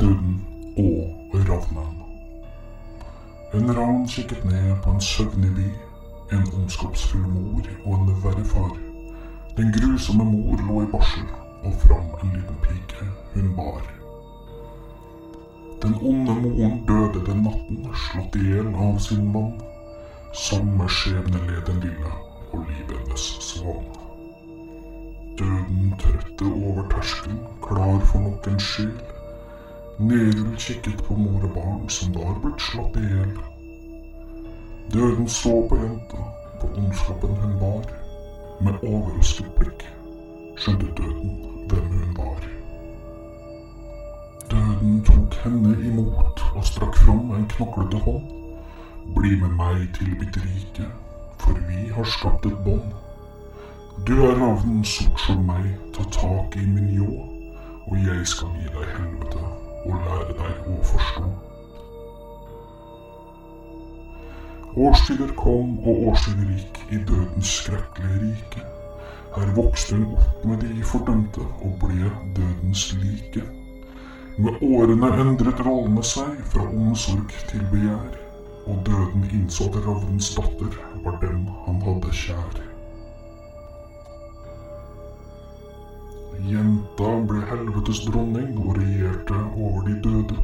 døden og ravnen. En ravn kikket ned på en søvnig by, en ondskapsfull mor og en verre far. Den grusomme mor lå i barsel, og fram en liten pike hun bar. Den onde moren døde den natten, slått i hjel av sin mann. Samme skjebne led den lille og livets svan. Døden trøtte over terskelen, klar for nok en skyld. Nerul kikket på mor og barn som var blitt slått i hjel. Døden så på jenta, på ondskapen hun bar. Med overrasket blikk skjønte døden hvem hun var. Døden tok henne imot og strakk fram en knoklete hånd. Bli med meg til mitt rike, for vi har skapt et bånd. Du er ravnen sort som meg, ta tak i min ljå, og jeg skal gi deg helvete og lære deg å forstå. Årstider kom og årstider gikk i dødens skrekkelige rike. Her vokste hun opp med de fordømte og ble dødens like. Med årene endret rollene seg fra omsorg til begjær, og døden innså at ravnens datter var den han hadde kjær. Jenta ble helvetes dronning og regjerte over de døde.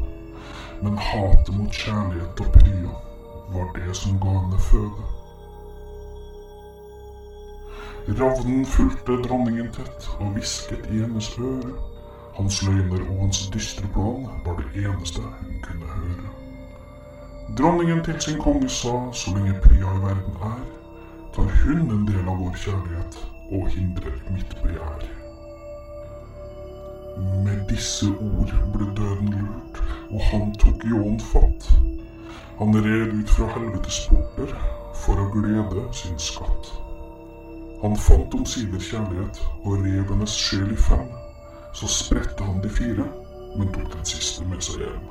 Men hatet mot kjærlighet og prya var det som ga henne føde. Ravnen fulgte dronningen tett og hvisket i hennes øre. Hans løgner og hans dystre plan var det eneste hun kunne høre. Dronningen til sin konge sa så lenge prya i verden er, tar hun en del av vår kjærlighet og hindrer mitt begjær. Med disse ord ble døden lurt, og han tok ljåen fatt. Han red ut fra helvetes porter for å glede sin skatt. Han fant omsider kjærlighet og rev hennes sjel i fem. Så spredte han de fire, men tok den siste med seg hjem.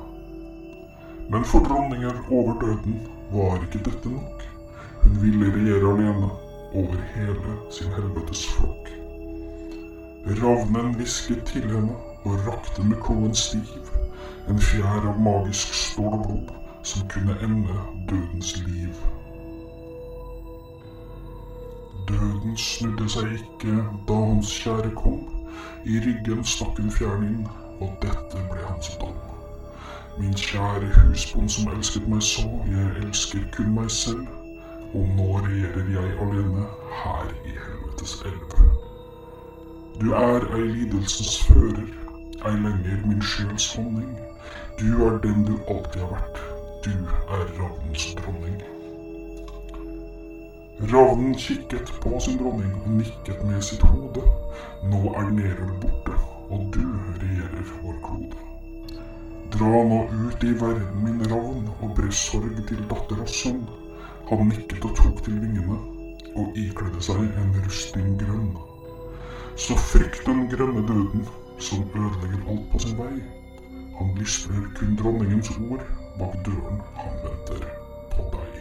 Men for dronninger over døden var ikke dette nok. Hun ville regjere alene over hele sin helvetes flokk. Ravnen hvisket til henne og rakte med kloen stiv en fjær av magisk stål og blod som kunne ende dødens liv. Døden snudde seg ikke da hans kjære kom. I ryggen stakk hun fjæren inn, og dette ble hans dom. Min kjære husbond som elsket meg så, jeg elsker kun meg selv. Og nå regjerer jeg alene her i helvetes elv. Du er ei lidelsens fører, ei lenger min sjels honning. Du er den du alltid har vært. Du er ravnens dronning. Ravnen kikket på sin dronning og nikket med sitt hode. Nå er Nerul borte, og du regjerer vår klode. Dra nå ut i verden, min ravn, og bre sorg til datter og sønn. Han nikket og tok til vingene, og ikledde seg en rustning grønn. Så frykt den grønne døden, som ødelegger alt på sin vei. Han lystrer kun dronningens ord bak døren han venter på deg.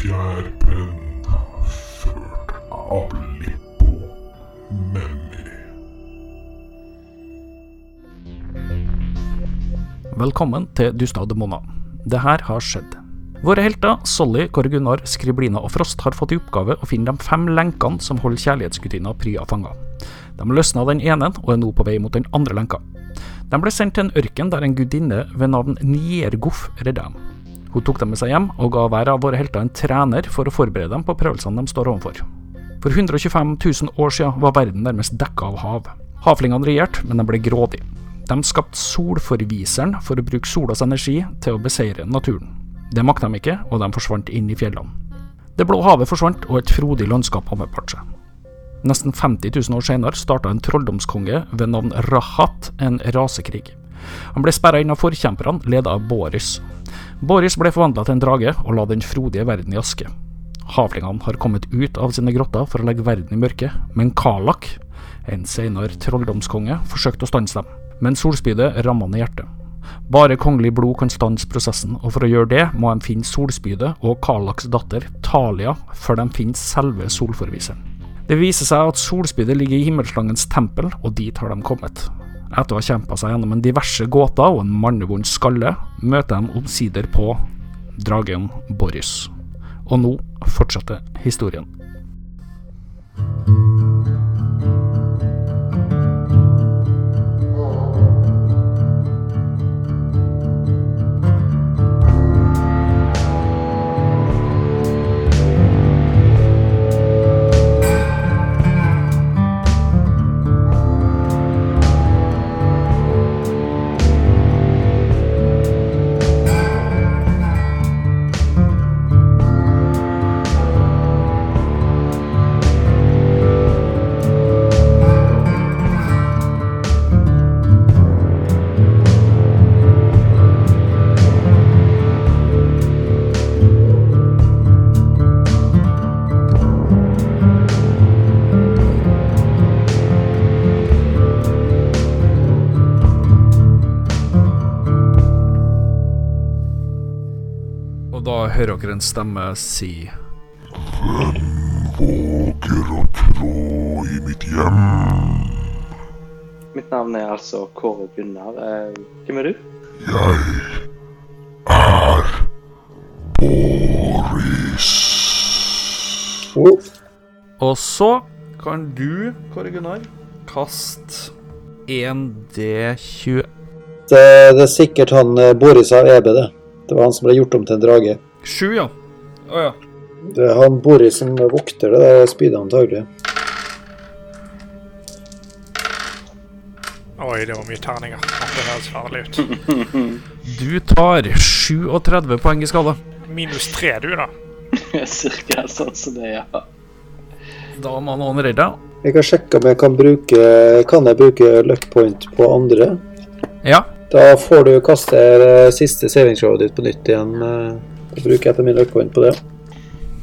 Fjærbrønn ført av Lippo Memmi. Velkommen til Dusta og demona. Det her har skjedd. Våre helter, Solly, Kåre Gunnar, Skriblina og Frost, har fått i oppgave å finne de fem lenkene som holder kjærlighetsgudinna Prya fanga. De løsna den ene, og er nå på vei mot den andre lenka. De ble sendt til en ørken der en gudinne ved navn Niergoff redda dem. Hun tok dem med seg hjem, og ga hver av våre helter en trener for å forberede dem på prøvelsene de står overfor. For 125 000 år siden var verden nærmest dekka av hav. Havlingene regjerte, men de ble grådige. De skapte solforviseren for å bruke solas energi til å beseire naturen. Det makta de ikke, og de forsvant inn i fjellene. Det blå havet forsvant, og et frodig landskap anbefalt seg. Nesten 50 000 år senere starta en trolldomskonge ved navn Rahat en rasekrig. Han ble sperra inn av forkjemperne, leda av Boris. Boris ble forvandla til en drage, og la den frodige verden i aske. Havlingene har kommet ut av sine grotter for å legge verden i mørke, men Kalak, en senere trolldomskonge, forsøkte å stanse dem. Men solspydet ramma han i hjertet. Bare kongelig blod kan stanse prosessen, og for å gjøre det må de finne solspydet og Kalaks datter, Talia, før de finner selve solforviseren. Det viser seg at solspydet ligger i himmelslangens tempel, og dit har de kommet. Etter å ha kjempa seg gjennom en diverse gåter og en mannevond skalle, møter de omsider på dragen Boris. Og nå fortsetter historien. Og da hører dere en stemme si Våker og trå i mitt hjem. Mitt navn er altså Kåre Gunnar. Eh, Hvem er du? Jeg er Boris. Oh, Og så kan du, Kåre Gunnar, kaste 1D27. det, det er sikkert han eh, Boris av EB, det. Det var han som ble gjort om til en drage. ja. Å ja. Det er han Boris som vokter det der spydet, antagelig. Oi, det var mye terninger. Det høres farlig ut. Du tar 37 poeng i skade. Minus tre, du, da. Cirka sånn som det er, ja. Da må noen redde deg. Jeg har sjekka om jeg kan bruke Kan jeg bruke luck point på andre? Ja. Da får du kaste eh, siste savingsshowet ditt på nytt igjen. eh, og bruke etter min luck point på det.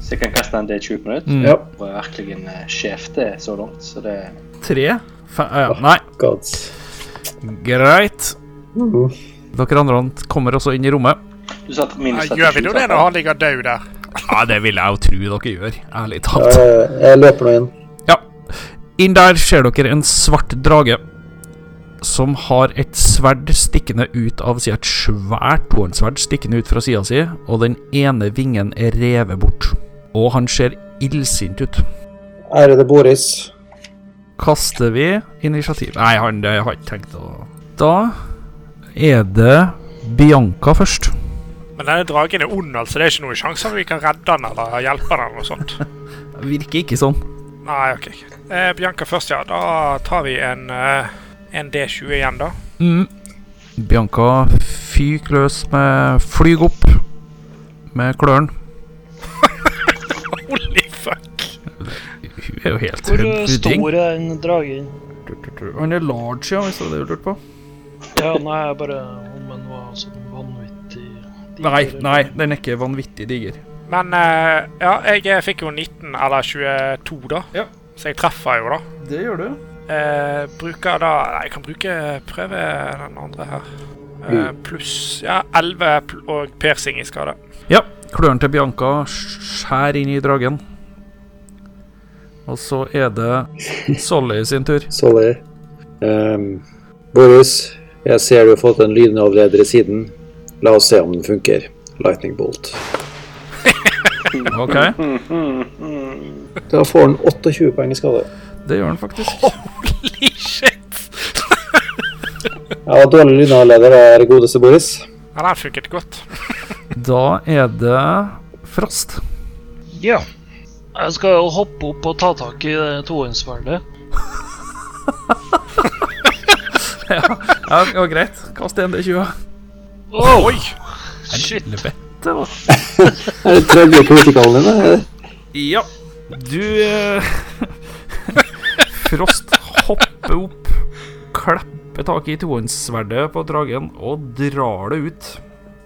Så jeg kan kaste en D20 minutter. Mm. Ja. Jeg var virkelig en eh, sjef det så langt, så det Tre. Fe ja. Nei, Gods. greit. Mhm. Dere andre kommer også inn i rommet. Du sa at minus Nei, Gjør vi nå det når han ligger død der? Ja, det vil jeg jo tro dere gjør. Ærlig Ja, talt. jeg, jeg løper nå inn. Inn der ser dere en svart drage som har et sverd stikkende ut av sida. Et svært tårnsverd stikkende ut fra sida si, og den ene vingen er revet bort. Og han ser illsint ut. Ærede Boris. Kaster vi initiativ Nei, han det har jeg ikke tenkt å Da er det Bianca først. Men denne dragen er ond, altså. Det er ikke noen sjanse at vi kan redde han eller hjelpe han eller noe sånt. Virker ikke sånn. Nei, OK. Eh, Bianca først, ja. Da tar vi en, eh, en D20 igjen, da. Mm. Bianca fyker løs med Flyg opp med klørne. Holy fuck. Hun er jo helt Hvor eh, pudding. stor er den dragen? Han er large, ja, hvis det er det du lurte på. Ja, nei, jeg bare om den var sånn vanvittig diger, Nei, eller- nei, den er ikke vanvittig diger. Men eh, ja, jeg eh, fikk jo 19 eller 22, da. Ja. Så jeg treffer jo, da. Det gjør du. Eh, bruker da Nei, jeg kan bruke eh, prøve den andre her. Eh, pluss ja, 11 pl og persing i skade. Ja. Klørne til Bianca skjærer inn i dragen. Og så er det Solly sin tur. Solly. Ehm, Boris, jeg ser du har fått en lynavleder i siden. La oss se om den funker. Lightning bolt. OK, Da får den 28 poeng i skade. det gjør han faktisk. Holy shit! Ja, dårlig lynavleder er godeste Boris. Ja, den funket godt. Da er det Frost. Ja. Jeg skal jo hoppe opp og ta tak i det tohåndssverdet. Ja, ja greit. Kast en D20. Oh, Oi! shit. Helvete, hva? Er det tredje kritikalen din? da? Ja. Du eh, Frost hopper opp, klapper tak i tohåndssverdet på dragen og drar det ut.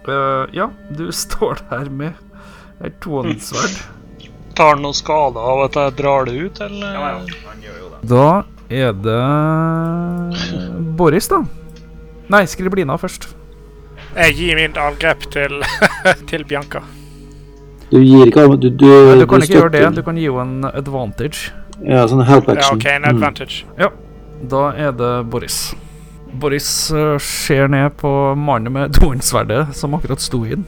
Eh, ja, du står der med et tohåndssverd. Tar den noe skade av at jeg drar det ut, eller? Da er det Boris, da. Nei, Skriblina først. Jeg gir mitt angrep til, til Bianca. Du gir ikke av... Du, du, Men du kan du ikke gjøre det. støtter- Du kan gi henne en advantage. Ja, sånn help Ja, action. OK, en Mm. advantage. Da er det Boris. Boris eh, ser ned på mannen med tornsverdet som akkurat sto inn,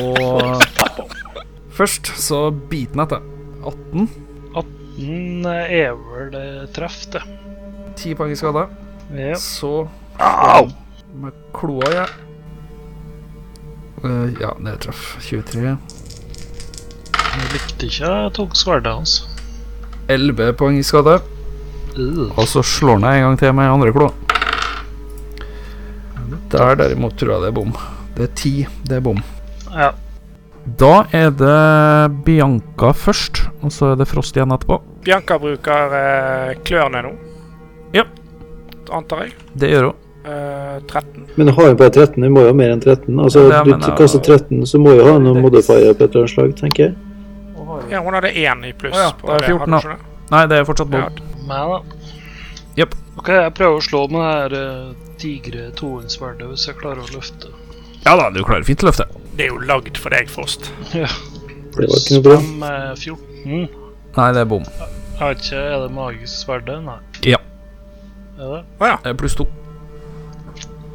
og Først så biter han etter. 18. Den Mm, er vel eh, treff, det. 10 poeng i skade. Ja. Så Med kloa, ja. Eh, ja, det traff. 23. Jeg likte ikke jeg tok sverdet hans. 11 poeng i skade. Øh. Og så slår han deg en gang til med andre kloa. Der derimot tror jeg det er bom. Det er 10. Det er bom. Ja. Da er det Bianca først, og så er det Frost igjen etterpå. Bianca bruker eh, klørne nå. Ja. Antar jeg. Det gjør hun. Eh, 13. Men har jo bare 13, vi må jo ha mer enn 13. Altså, Ja, det du mener jeg. kaster 13, så må jo ha noen modifier på et eller annet slag, tenker jeg. Ja, hun hadde én i pluss. Å ja, på da er det, 14 da. hadde hun ikke det? Nei, det er fortsatt bom. Ja, Meg, da. Jepp. OK, jeg prøver å slå med det her eh, digre tohåndssverdet hvis jeg klarer å løfte. Ja da, du klarer fint løftet. Det er jo lagd for deg, Frost. Det var ikke noe bra. Fem, eh, 14. Nei, det er bom. Jeg vet ikke, er det magisk sverdet? Nei. Ja. Er det? Det er Eh, Pluss to.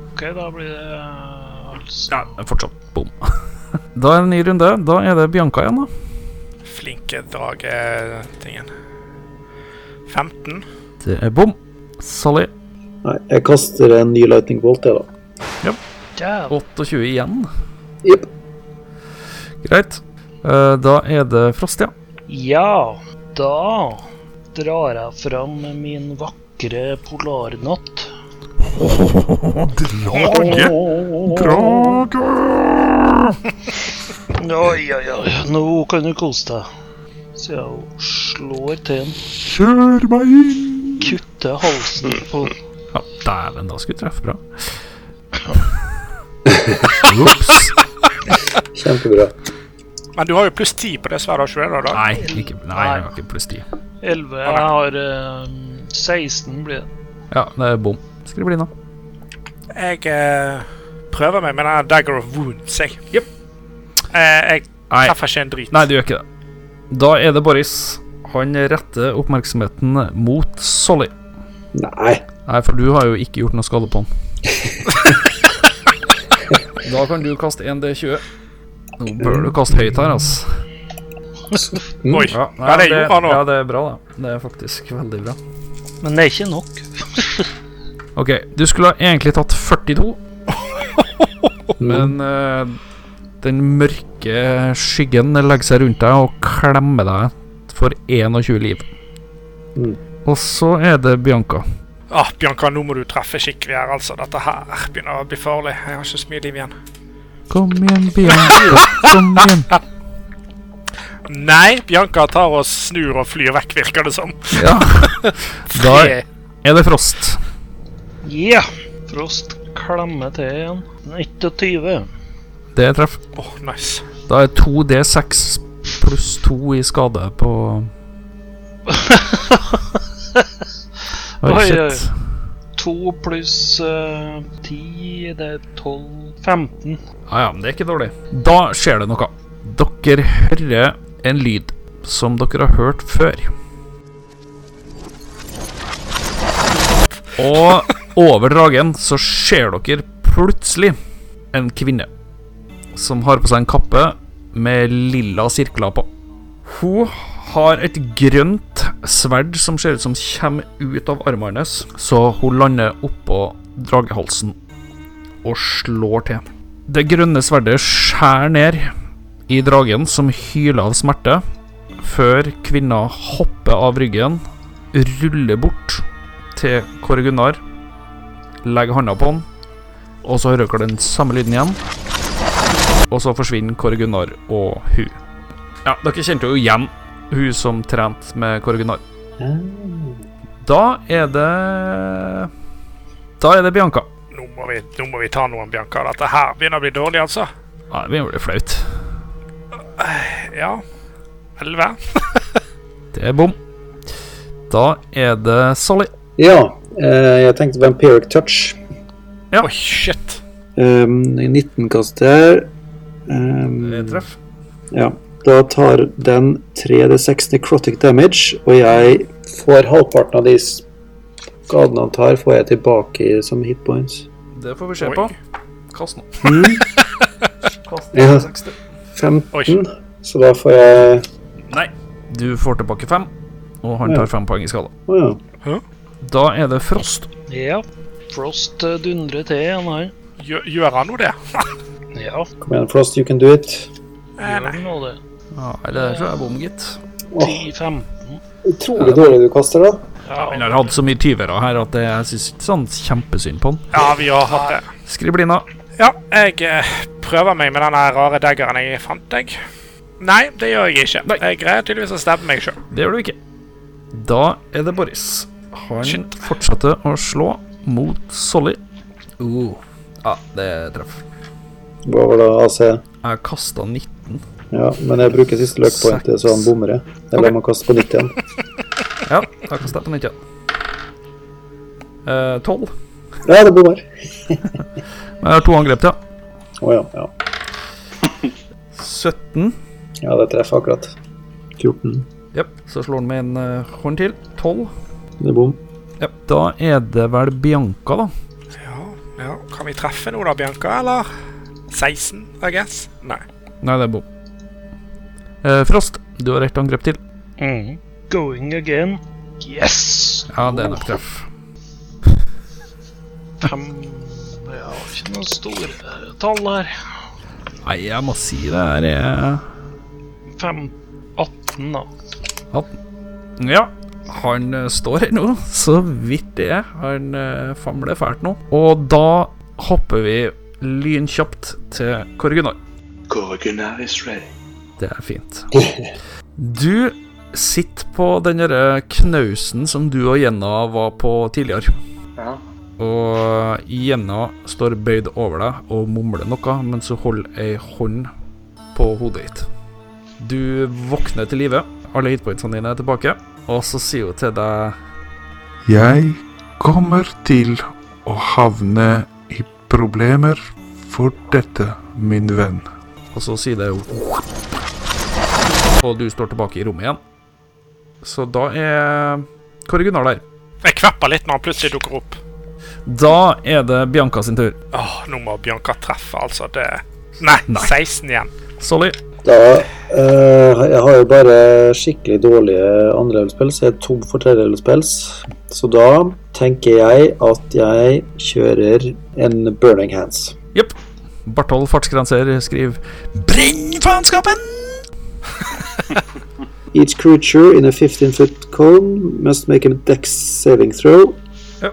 OK, da blir det eh, altså Ja, det er fortsatt bom. da er det en ny runde. Da er det Bianca igjen, da. Flinke dragetingen. 15. Det er bom. Sally. Nei, jeg kaster en ny lightning bolt, jeg, da. Jævlig. 28 igjen. Jepp. Greit. Eh, da er det Frost, ja. Ja, da drar jeg fram min vakre polarnatt. Drage! Drage! Oi, oi, oi, nå kan du kose deg. Så jeg slår til den, Kjør meg inn! kutter halsen på den. ja Dæven, da skulle du treffe bra. Ops. Kjempebra. Men du har jo pluss 10 på det sverdet, har du ikke det? da, Nei, ikke, nei, jeg har ikke pluss ti. 11, jeg har eh, 16 blir det. Ja, det er bom. Skriblina. da? Jeg eh, prøver meg med den her dagger of wounds, jeg. Jep. Eh, jeg Nei. treffer ikke en drit. Nei, du gjør ikke det. Da er det Boris. Han retter oppmerksomheten mot Solly. Nei. Nei, for du har jo ikke gjort noe skade på han. da kan du kaste 1D20. Nå bør du kaste høyt her, altså. Oi. Ja, Ja, det gjorde han også. ja, det er bra, det. Det er faktisk veldig bra. Men det er ikke nok. Ok, du skulle ha egentlig tatt 42, Mm. men eh, den mørke skyggen legger seg rundt deg og klemmer deg for 21 liv. Mm. Og så er det Bianca. Ah, Bianca, nå må du treffe skikkelig her, altså. Dette her begynner å bli farlig. Jeg har ikke så mye liv igjen. Kom igjen, Bianca. Kom igjen. Nei, Bianca tar og snur og flyr vekk, virker det som. Ja. Da Tre. er det Frost. Ja! Frost klemmer til igjen. 29. Det er treff. Åh, nice. Da er 2D6 pluss 2 i skade på Oi, Oi, oi. shit. 2 pluss eh, 10, det er 12 15. Ja, ja, men det er ikke dårlig. Da skjer det noe. Dere hører en lyd som dere har hørt før. Og over dragen så ser dere plutselig en kvinne som har på seg en kappe med lilla sirkler på. Hun har et grønt sverd som ser ut som kommer ut av armen hennes, så hun lander oppå dragehalsen og slår til. Det grønne sverdet skjærer ned i dragen, som hyler av smerte, før kvinna hopper av ryggen, ruller bort til Kåre Gunnar, legger handa på han, og så hører dere den samme lyden igjen. Og så forsvinner Kåre Gunnar og hun. Ja, dere kjente jo igjen hun som trente med Kåre Gunnar. Da er det Da er det Bianca. Nå må, vi, nå må vi ta noen, Bianca. Dette her begynner å bli dårlig, altså. Ja, det begynner å bli flaut. Ja. 11. Det er bom. Da er det Solly. Ja, eh, jeg tenkte Vampiric Touch. Ehm, Ja. Oi, shit. Um, 19 kaster jeg her. Um, Treff. ja. Da tar den 3D6 necrotic damage, og jeg får halvparten av de skadene han tar, får jeg tilbake i- som hitpoints. Det får vi se Oi. på. Kast nå. Kast Mm. Ja. 60. 15, så da får jeg Nei. Du får tilbake fem, og han Ja. tar fem poeng i skala. Å ja. Da er det Frost. Ja. Frost eh, dundrer til igjen her. Gjør, gjør han nå det? Ja, Kom igjen, Frost, you can do it. nei. gjør nå det. Ja, det tror jeg er bom, gitt. Åh, 10-15. utrolig dårlig du kaster, da. Han har hatt så mye tyvere her at det- jeg syns ikke sånn kjempesynd på han. Ja, vi har hatt det. Skriblina. Ja, jeg eh, prøver meg med den her rare daggeren jeg fant, jeg. Nei, det gjør jeg ikke. Nei. Jeg greier tydeligvis å stabbe meg sjøl. Det gjør du ikke. Da er det Boris. Han Shit. fortsetter å slå mot Solly. Uh. Ja, det treff. Hva var da AC? Jeg kasta 19. Ja, men jeg bruker siste luck pointet, så han Seks. bommer jeg. Jeg lar Ok. meg kaste på nytt igjen. Ja, jeg kasta på nytt igjen. Eh, 12. Ja, det bommer. Men jeg har to angrep til. ja. Å ja. ja. 17. Ja, det treffer akkurat. 14. Jepp. Så slår han med en eh, horn til. 12. Det er bom. Jep. Da er det vel Bianca, da. Ja, ja. Kan vi treffe nå da, Bianca, eller? 16, I guess? Nei. Nei, det er bom. Eh, Frost, du har ett angrep til. Mm. Going again. Yes! Ja, det er nok treff. Fem Ja, ikke noen store eh, tall her. Nei, jeg må si det her er 5 18, da. Ja, han eh, står her nå, så vidt det. er. Han eh, famler fælt nå. Og da hopper vi lynkjapt til Korgunar. Kåre Gunnar is ready. Det er fint. Du sitter på den derre knausen som du og Jenna var på tidligere. Ja. Og Jenna står bøyd over deg og mumler noe, men så holder ei hånd på hodet ditt. Du våkner til live. Alle hitpointsene dine er tilbake. Og så sier hun til deg Jeg kommer til å havne i problemer for dette, min venn. Og så sier det jo Og du står tilbake i rommet igjen. Så da er Kåre Gunnar der. Jeg kvepper litt når han plutselig dukker opp. Da er det Bianca sin tur. Åh, nå må Bianca treffe, altså. Det Nei, Nei. 16 igjen. Solly, Da eh, Jeg har jo bare skikkelig dårlige andrelevelspels. Jeg er tom for tredjelevelspels. Så da tenker jeg at jeg kjører en burning hands. Barthold fartsgrenser, skriv 'Brenn faenskapen'! Each creature in a 15 foot cone must make a dex saving throw. Ja.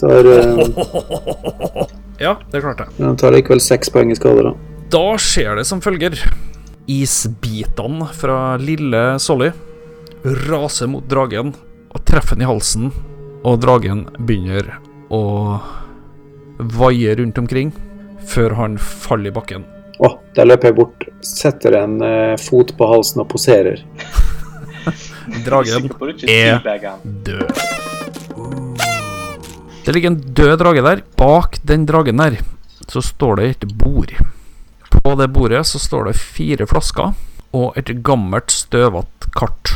Tar, eh, Ja, det klarte jeg. men han tar likevel seks poeng i skade, da. Da skjer det som følger. Isbitene fra lille Solly raser mot dragen og treffer den i halsen, og dragen begynner å vaie rundt omkring før han faller i bakken. Å, der løper jeg bort, setter en eh, fot på halsen og poserer. Dragen Sikker på du ikke er- steabagger han. død. Det ligger en død drage der. Bak den dragen der så står det et bord. På det bordet så står det fire flasker og et gammelt, støvete kart.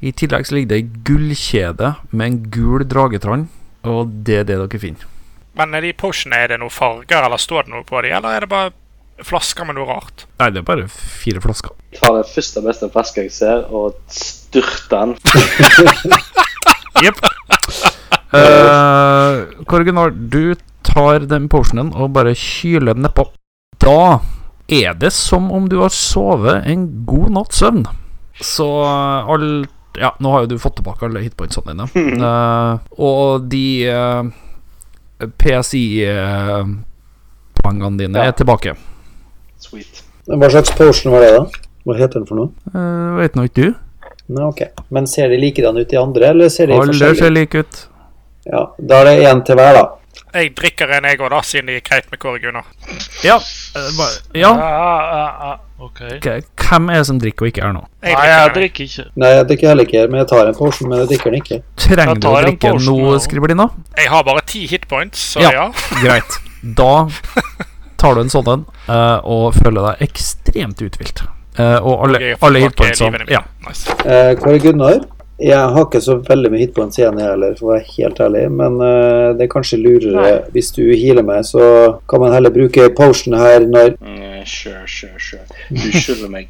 I tillegg så ligger det ei gullkjede med en gul dragetrann, og det er det dere finner. Men er de potionene, er det noen farger, eller står det noe på dem, eller er det bare flasker med noe rart? Nei, det er bare fire flasker. Tar det første beste flaska jeg ser, og styrter den. Jepp. Eh, Korgunar, du tar den potionen og bare kyler den nedpå. Da er det som om du har sovet en god natts søvn. Så eh, alt Ja, nå har jo du fått tilbake alle hitpointsene dine. Mhm. Eh, og de eh, PSI-poengene eh, dine Ja. er tilbake. Sweet. Hva slags potion var det, da? Hva heter den for noe? Uh, vet nå ikke du. Nei, ok. Men ser de likedan ut de andre, eller ser de Alle forskjellige? ser like ut. Ja, Da er det én til hver, da. Jeg drikker en, jeg òg, da, siden det gikk greit med Kåre Gunnar. Ja. eh, bare- ja. Ah, ah, ah, ah. OK. Ok, Hvem er det som drikker og ikke er nå? Jeg Nei, drikker jeg en, jeg. drikker ikke. Nei, jeg drikker heller ikke, men jeg tar en potion, men jeg drikker den ikke. Trenger Jeg du å tar en drikke potion, noe, ja. Skriblina? jeg har bare ti hitpoints, så Ja. ja. Greit. Da tar du en sånn en eh, og føler deg ekstremt uthvilt. Eh, og alle, Jeg får alle tilbake hitpointsene livene mine. ja, Nice. Eh, Kåre Gunnar, jeg har ikke så veldig mye hitpoints igjen, jeg heller, for å være helt ærlig, men eh, det er kanskje lurere hvis du healer meg, så kan man heller bruke potion her når Mm, sure, sure, sure. Du skylder meg.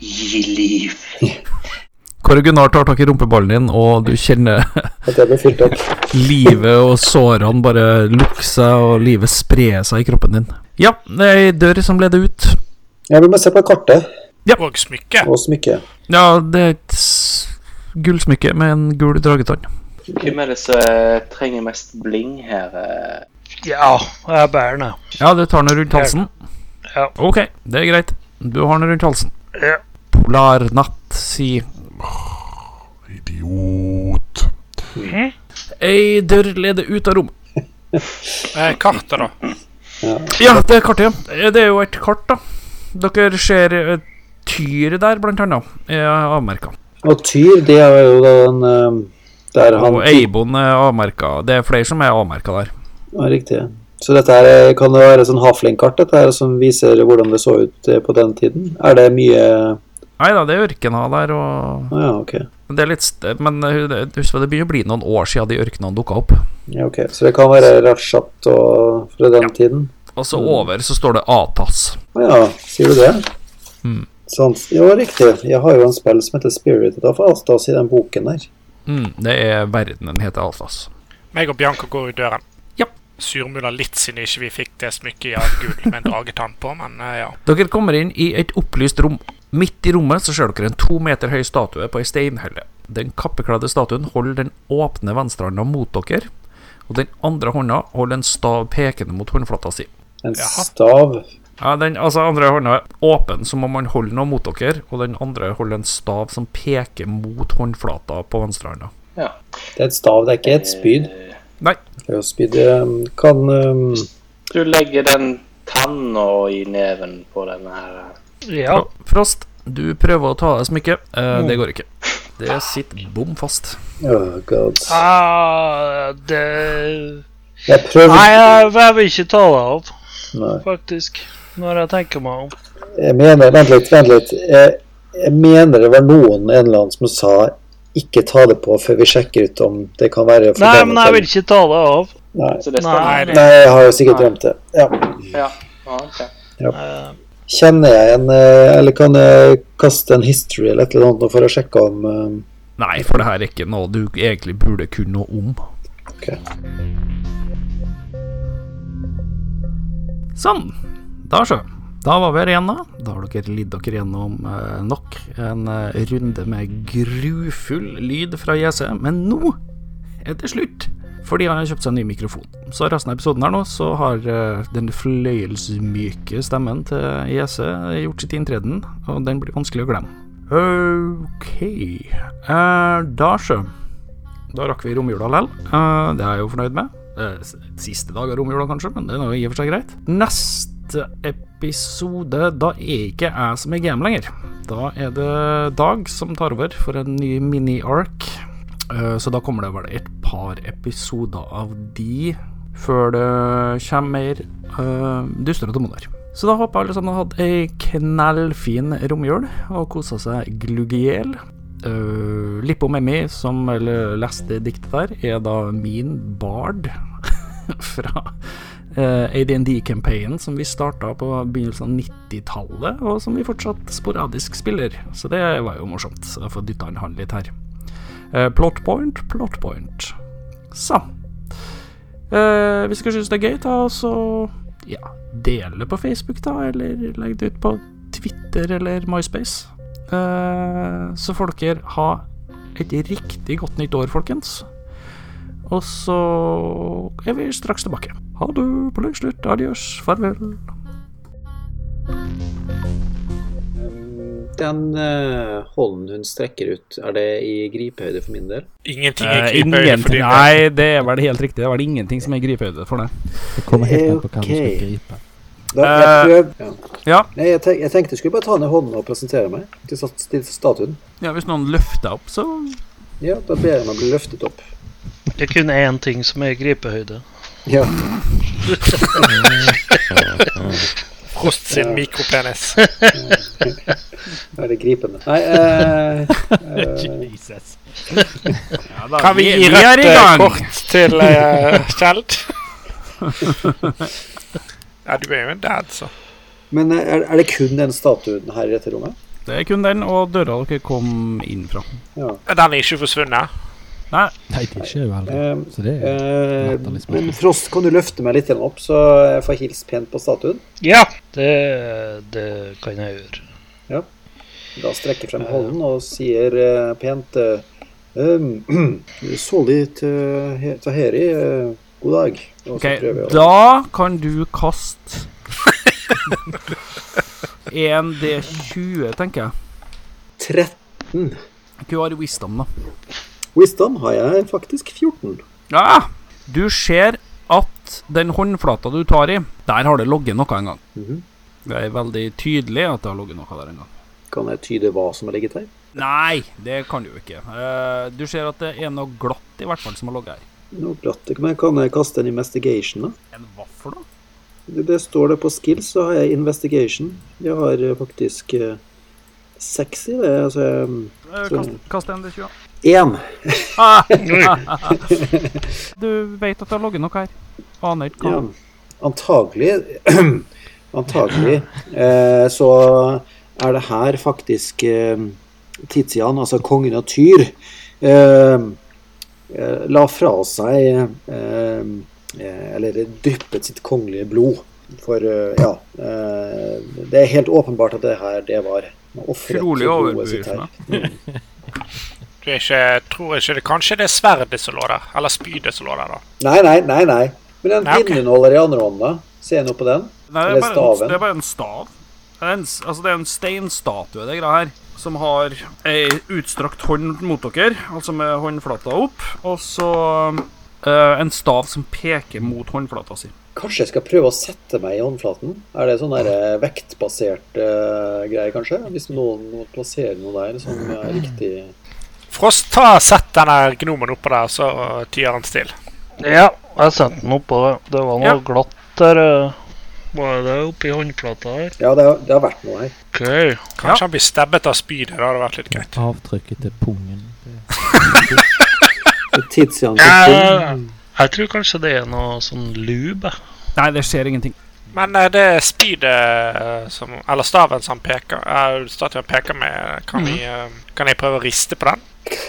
Gi liv. Kåre Gunnar tar tak i rumpeballen din, og du kjenner at jeg blir fylt opp. livet og sårene bare lukke seg, og livet sprer seg i kroppen din. Ja, det er ei dør som leder ut. Ja, vi må se på kartet Og smykke. og smykket. Ja, det er et s- gullsmykke med en gul dragetann. Hvem er det som eh, trenger mest bling her? eh? Ja, jeg bærer den, jeg. Ja, du tar den rundt halsen. Ja. Ok, det er greit. Du har den rundt halsen. Ja. Polarnatt, si. Idiot. Ei dør leder ut av rom. Eh, kartet, da. Ja, det er kartet. ja. Det er jo et kart, da. Dere ser eh, Tyr der, blant annet. Er avmerka. Og Tyr, det er jo den eh, der han Og Eibon er avmerka. Det er flere som er avmerka der. Ja, riktig. Så dette her, eh, kan det være sånn Hafling-kart dette her, som viser hvordan det så ut eh, på den tiden? Er det mye Nei da, det er ørkena der, og ah, Ja, ok. det er litt st Men eh, det- husk på, det begynner å bli noen år siden de ørkenene dukka opp. Ja, ok. Så det kan være Rashat og fra den tiden? Og så over så står det Atas. Å ja, sier du det? Mm. Sant. Jo, riktig. Jeg har jo en spill som heter Spirit of Alstas i den boken der. Mm, det er verdenen heter Altas. Meg og Bianca går i døren. Ja. Surmuler litt siden ikke vi fikk det smykket av gull med en dragetann på, men eh, ja. Dere kommer inn i et opplyst rom. Midt i rommet så ser dere en to meter høy statue på ei steinhelle. Den kappekledde statuen holder den åpne venstrehånda mot dere, og den andre hånda holder en stav pekende mot håndflata si. En Jaha. stav. Ja, den altså, andre hånda er åpen, som om man holder noe mot dere, og den andre holder en stav som peker mot håndflata på venstrehånda. Det er et stav, det er ikke et spyd. Eh, Nei. Det er jo spyd eh, Kan eh, Du legger den tanna i neven på denne her. eh. Ja. Fro- Frost, du prøver å ta av deg smykket. Eh, det går ikke. Det sitter bom fast. Oh god. Ah, det Jeg prøver Nei, jeg, jeg vil ikke ta det av, Nei. faktisk. Når jeg tenker meg om. Jeg mener Vent litt, vent litt. Jeg, jeg mener det var noen en eller annen som sa ikke ta det på før vi sjekker ut om det kan være for Nei, den men og jeg den. vil ikke ta det av. Nei. Så det Nei, stemmer. det- Nei, jeg har jo sikkert Nei. glemt det. Ja. Ja. Ah, ok. Eh, Kjenner jeg en eh, Eller kan jeg kaste en history eller et eller annet nå for å sjekke om eh, Nei, for det her er ikke noe du egentlig burde kunne noe om. Ok. Sånn. Da så. Da var vi her igjen, da. Da har dere lidd dere gjennom eh, nok en eh, runde med grufull lyd fra JC, men nå er det slutt. Fordi han har kjøpt seg en ny mikrofon. Så resten av episoden her nå, så har eh, den fløyelsmyke stemmen til JC gjort sitt inntreden, og den blir vanskelig å glemme. Ok eh, Da så. Da rakk vi romjula lell. Eh, det er jeg jo fornøyd med. Eh, s- siste dag av romjula, kanskje, men det er nå i og for seg greit. Neste episode, da er ikke jeg som er game lenger. Da er det Dag som tar over for en ny mini-ark. Eh, så da kommer det vel et par episoder av de før det kommer mer uh, dystre demoner. Så da håper jeg alle sammen har hatt ei knellfin romjul og kosa seg glugg i hjel. Uh, Lippo Memmi, som l- leste diktet der, er da min bard fra uh, ADND-campaignen som vi starta på begynnelsen av 90-tallet, og som vi fortsatt sporadisk spiller. Så det var jo morsomt. Så jeg får dytta inn han litt her. Uh, plot point, plot point. Så. Eh, hvis dere syns det er gøy, ta og så ja, del det på Facebook, da, eller legg det ut på Twitter eller MySpace. Eh, så får dere ha et riktig godt nytt år, folkens. Og så er vi straks tilbake. Ha det, på lenge slutt, adjøs, farvel. Den eh, hånden hun strekker ut, er det i gripehøyde for min del? Eh, Ingenting er gripehøyde for dine. det er vel helt riktig. Det er vel ingenting som er gripehøyde for det. Det kommer helt an på hva du skal Ok. gripe. Da, Eh, jeg, prøv, ja. ja. Nei, jeg, tenk, jeg tenkte jeg skulle bare ta ned hånden og presentere meg til, stat- til statuen. Ja, Hvis noen løfter opp, så Ja, da ber jeg meg bli løftet opp. det er kun én ting som er gripehøyde. Ja. Frost sin mikropenis. Er det gripende? Nei eh, eh, Jesus. Kan vi gi er rødt i eh, gang. kort til eh, Kjeld? ja, du er jo en dad, så. Men eh, er, er det kun den statuen her i dette rommet? Det er kun den og døra dere kom inn fra. Den er ikke forsvunnet. Nei, det er ikke veldig. Eh, Så det er eh, Latterlig spørsmål. men Frost, kan du løfte meg litt igjen opp, så jeg får hilst pent på statuen? Ja, det, det kan jeg gjøre. Da strekker jeg Eh. frem hånden og sier eh, pent eh, um, Så litt eh, he- Taheri, eh, god dag. Og så Ok, prøver jeg å- Da kan du kaste 1D20, tenker jeg. 13. Du har wisdom, da. Wisdom har jeg faktisk 14. Ja! Du ser at den håndflata du tar i, der har det ligget noe en gang. Mhm. Det er veldig tydelig at det har ligget noe der en gang. Kan jeg tyde hva som har ligget her? Nei, det kan du jo ikke. Eh, Du ser at det er noe glatt i hvert fall som har ligget her. Nå glatt ikke, men Kan jeg kaste en investigation, da? En vaffel, da? Det, det står det på skills, så har jeg investigation. Jeg har eh, faktisk eh, seks i det. Altså Eh, Kast, kast en D20. én. Ah! du vet at det har ligget noe her. Aner ikke Ja. hva. Antagelig Antagelig eh, så er det her faktisk eh, Tizian, altså kongen av Tyr, eh, eh, la fra seg eh, eh, Eller dryppet sitt kongelige blod. For eh, ja eh, Det er helt åpenbart at det her, det var offeret. Utrolig til blodet sitt overbevisende. her. Du er ikke, tror ikke det Kanskje det er sverdet som lå der? Eller spydet som lå der, da. Nei, nei, nei. nei. Men den Nei, ok. innholder i andre hånda. Se nå på den. Nei, det er, Eller bare en, staven. det er bare en stav. Det er en, s- altså, det er en steinstatue, det greia her, som har ei utstrakt hånd mot dere, altså med håndflata opp, og så eh, en stav som peker mot håndflata si. Kanskje jeg skal prøve å sette meg i håndflaten? Er det sånn der eh, vektbasert eh, greier, kanskje? Hvis noen plasserer noe der som er Mm. riktig Frost, ta sett denne gnomen oppå der, så uh, tyr han stille. Ja, jeg sendte den oppå det. Det var noe Ja. glatt der. eh. Var det oppi håndflata her? Ja, det har, det har vært noe her. OK. Kanskje han blir stabbet av spydet. Det hadde vært litt greit. avtrykket til pungen. Det- Tidsjans Ja, jeg tror kanskje det er noe sånn lube. jeg. Nei, det skjer ingenting. Men eh, det spydet eh, som Eller staven som peker eh, Statuen peker med Kan, vi, eh, kan jeg prøve å riste på den?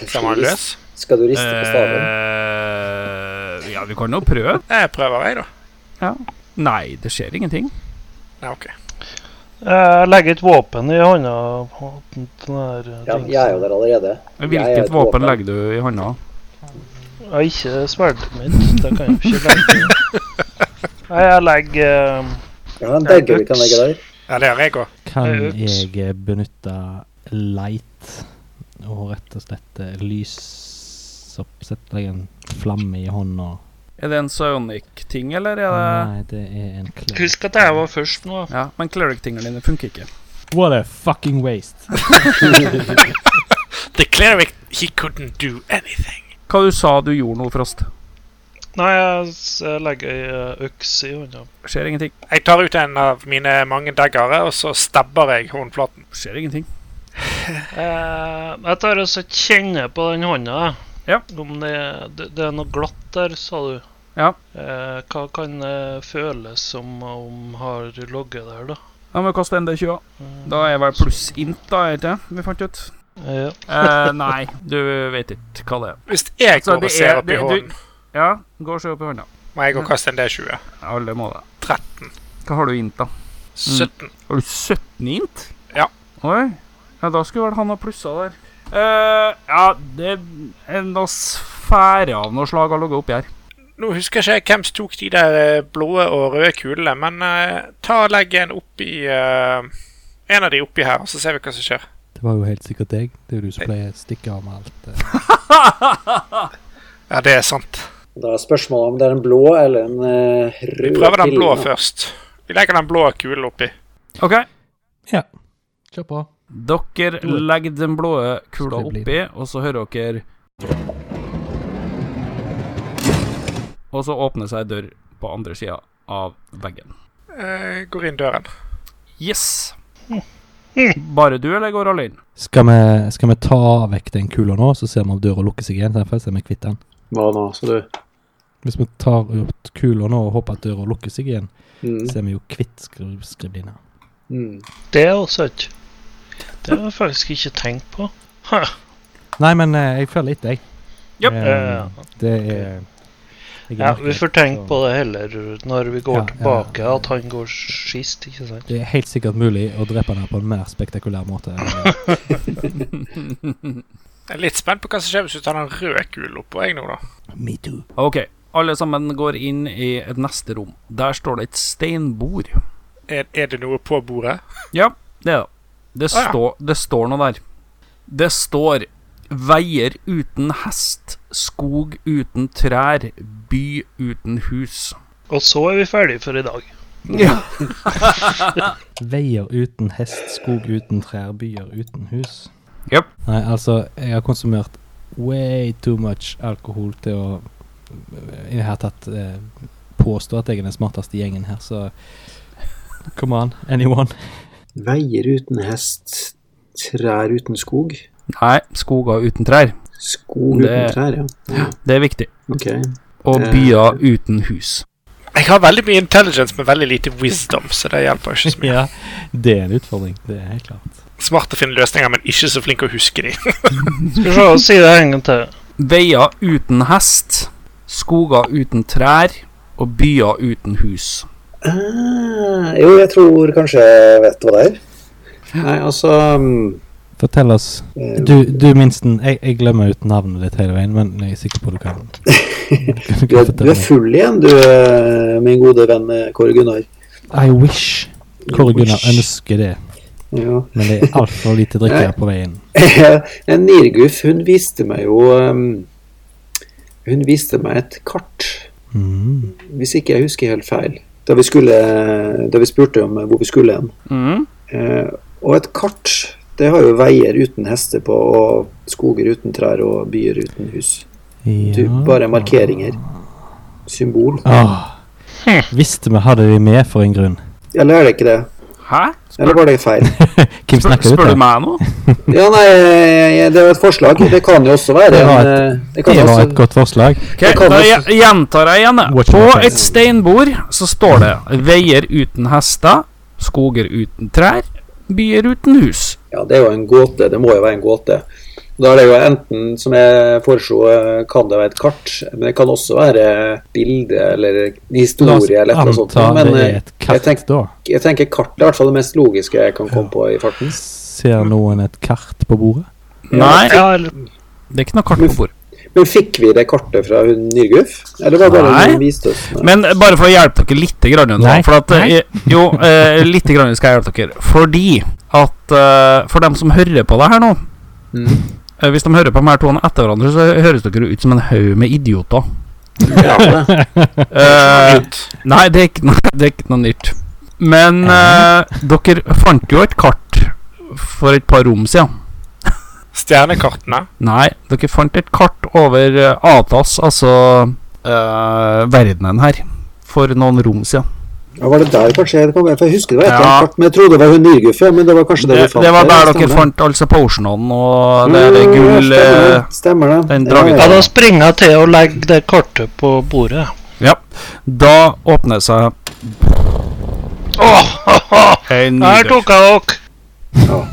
Se om han er løs? Skal du riste på staven? Eh, ja, vi kan jo prøve. Jeg prøver, jeg, da. Nei, det skjer ingenting. Nei, ok. Jeg legger et våpen i hånda på den der eh, Ja, dingsen. jeg er jo der allerede. Jeg er Hvilket et våpen våpen. legger du i hånda? Jeg har ikke sverdet mitt. Det kan jeg jo ikke legge. Nei, jeg legger eh, Jeg har en dagger vi kan legge der. Ja, det gjør jeg òg. Eh, Kan ups. jeg eh, benytte light og rett og slett eh, lys opp? Sette deg en flamme i hånda? Er det en Psionic-ting, eller er det Nei, det er en klem. Husk at jeg var først nå. Ja, men cleric-tingene dine funker ikke. What a fucking waste. The cleric, he couldn't do anything. Hva du sa du gjorde nå, Frost? Nei, jeg s- jeg legger ei eh, øks i hånda. Skjer ingenting. Jeg tar ut en av mine mange daggere, og så stabber jeg håndflaten. Skjer ingenting. Eh, jeg tar også kjenner på den hånda. Ja. Om det, det, det er noe glatt der, sa du. Ja. Eh, hva kan eh, føles som om har ligget der, da? Eh, Da må vi kaste en D20. Da er jeg vel pluss int, da, er det ikke? Vi fant ut. Ja. Eh, nei, du vet ikke hva det er. Hvis jeg Så går og det er- ser opp det- i du- hånden, Ja, gå og se opp i hånda. må jeg gå og kaste en D20. Alle må det. 13. Hva har du i int, da? Mm. 17. Har du 17 i int? Ja. Oi. Ja, da skulle vel han ha plussa der. eh ja, det er noe sfære av noe slag har ligget oppi her. Nå husker jeg ikke hvem som tok de der eh, blå og røde kulene, men eh, ta og legg en oppi uh, En av de oppi her, og så ser vi hva som skjer. Det var jo helt sikkert deg. Det er jo du som pleier å stikke av med alt. eh. Ja, det er sant. Da er spørsmålet om det er en blå eller en eh, Vi rød prøver den blå pille. først. Vi legger den blå kulen oppi. OK. Kjør på. Dere legger den blå kula oppi, og så hører dere Og så åpner seg ei dør på andre sida av veggen. Eh, går inn døren. Yes. Bare du, eller går alle inn? Skal vi, skal vi ta vekk den kula nå, så ser vi om døra lukker seg igjen? så Får vi se om vi kvitter den. Hva nå, sa du? Hvis vi tar ut kula nå og håper at døra lukker seg igjen, Mm. så er vi jo kvitt skri- skriblina. Mm. Det er også ikke Det har jeg faktisk ikke tenkt på. Nei, men eh, jeg følger etter, jeg. Japp. Eh, det er jeg er Ja, mørkredd, Vi får tenke så- på det heller når vi går Ja, ja, ja. tilbake, at han går sist, ikke sant? Det er helt sikkert mulig å drepe henne på en mer spektakulær måte. enn- Jeg er litt spent på hva som skjer hvis du tar den røde kula oppå jeg nå, da. Me too. Ok, alle sammen går inn i et neste rom. Der står det et steinbord. Er, er det noe på bordet? Ja, det er det. Det, Å, ja. står- det står noe der. Det står Veier uten hest, skog uten trær, by uten hus. Og så er vi ferdige for i dag. Veier uten hest, skog uten trær, byer uten hus. Japp. Nei, altså, jeg har konsumert way too much alkohol til å Jeg har tatt eh, påstå at jeg er den smarteste i gjengen her, så Come on, anyone. Veier uten hest, trær uten skog. Nei, skoger uten trær. Skog Det- uten trær, ja. ja. Det er viktig. Ok. Og Eh. byer uten hus. Jeg har veldig mye intelligence, men veldig lite wisdom, så det hjelper ikke så mye. ja, det er en utfordring. Det er helt klart. Smart å finne løsninger, men ikke så flink å huske de. Skal vi se, si det en gang til. Veier uten hest, skoger uten trær og byer uten hus. Eh, jo, jeg tror kanskje jeg vet hva det er. Nei, altså mm, Fortell oss eh, Du, du Minsten, jeg, jeg glemmer ut navnet ditt hele veien, men jeg er sikker på du kan. kan- du, er, kan du fortelle er meg. full igjen, du, eh, min gode venn eh, Kåre Gunnar. I wish Kåre Gunnar Wish. ønsker det, Ja. men det er altfor lite drikke på veien. En Nirguf, hun viste meg jo ehm, Hun viste meg et kart, Mm. hvis ikke jeg husker helt feil, da vi, skulle, eh, da vi spurte om hvor vi skulle hen. Mhm. Mm. Eh, og et kart, det har jo veier uten hester på, og skoger uten trær og byer uten hus. Du, bare markeringer. Symbol. Åh. Visste vi hadde de med for en grunn. Eller er det ikke det? Hæ? Eller Spør, var det feil? Hvem spør, snakker du spør du til? meg nå? Ja, nei, eh, det var et forslag. Det kan jo også være Det var en et- eh, Det kan Det var et også godt forslag. Ok, kan da også- gje- gjentar jeg igjen. det. Watch På my face. et steinbord så står det 'Veier uten hester, skoger uten trær, byer uten hus'. Ja, det er jo en gåte. Det må jo være en gåte. Da er det jo enten, som jeg foreslo, eh, kan det være et kart, men det kan også være bilde eller La oss historie eller et eller annet sånt. anta Men det eh, er et kart, tenk- da. jeg tenker kart er i hvert fall det mest logiske jeg kan komme på i farten. Ser noen et kart på bordet? Nei, Ja, eller det er ikke noe kart på bordet. Men fikk vi det kartet fra hun Nyrguf? Eller var det bare Nei. hun viste oss? Nei. Men bare for å hjelpe dere litt grann nå, Nei. for at, Nei. eh, Jo, eh, litt grann skal jeg hjelpe dere. Fordi at eh, For dem som hører på det her nå Mm. eh, Hvis de hører på de her to etter hverandre, så høres dere ut som en haug med idioter. Eh, Nei, det er ikke noe, det er ikke noe nytt. Men eh, dere fant jo et kart for et par rom siden. Stjernekartene. Nei, dere fant et kart over eh, Atas, altså eh, verdenen her, for noen rom siden. Ja, var det der kanskje jeg kom med? For jeg husker det var et Ja. eller annet kart, men jeg trodde det var hun Nyrguf, ja. Men det var kanskje det, Det, vi fant. det var ja, der dere stemmer. fant altså potionen og det der Mm, gull... stemmer det, eh, Stemmer det. den Ja, Ja, dragen. ja. da springer jeg til og legger det kartet på bordet. da åpner seg Åh, haha, en ny her dør. tok jeg dere!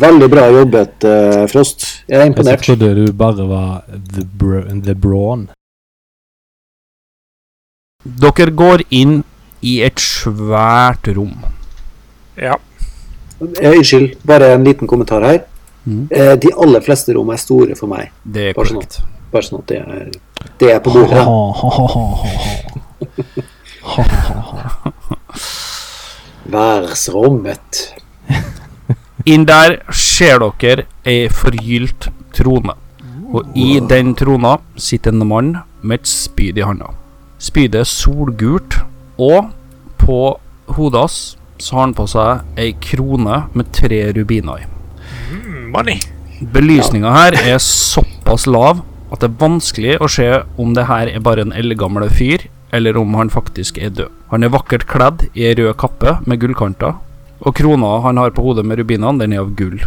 Veldig bra jobbet, eh, Frost. Jeg er Jeg imponert. trodde du bare var the, bro the brawn. Dere går inn i et svært rom. Ja. Eh, Unnskyld, bare en liten kommentar her. Mhm. Eh, De aller fleste rom er store for meg. Det er Bare sånn. korrekt. Bare sånn at det er, det er på bordet. da. Ha-ha-ha-ha. Værsrommet. Inn der ser dere ei forgylt trone. Og i den trona sitter en mann med et spyd i handa. Spydet er solgult, og på hodet hans så har han på seg ei krone med tre rubiner i. Mm, Money. Belysninga her er såpass lav at det er vanskelig å se om det her er bare en eldgammel fyr, eller om han faktisk er død. Han er vakkert kledd i ei rød kappe med gullkanter, Og krona han har på hodet med rubinene, den er av gull.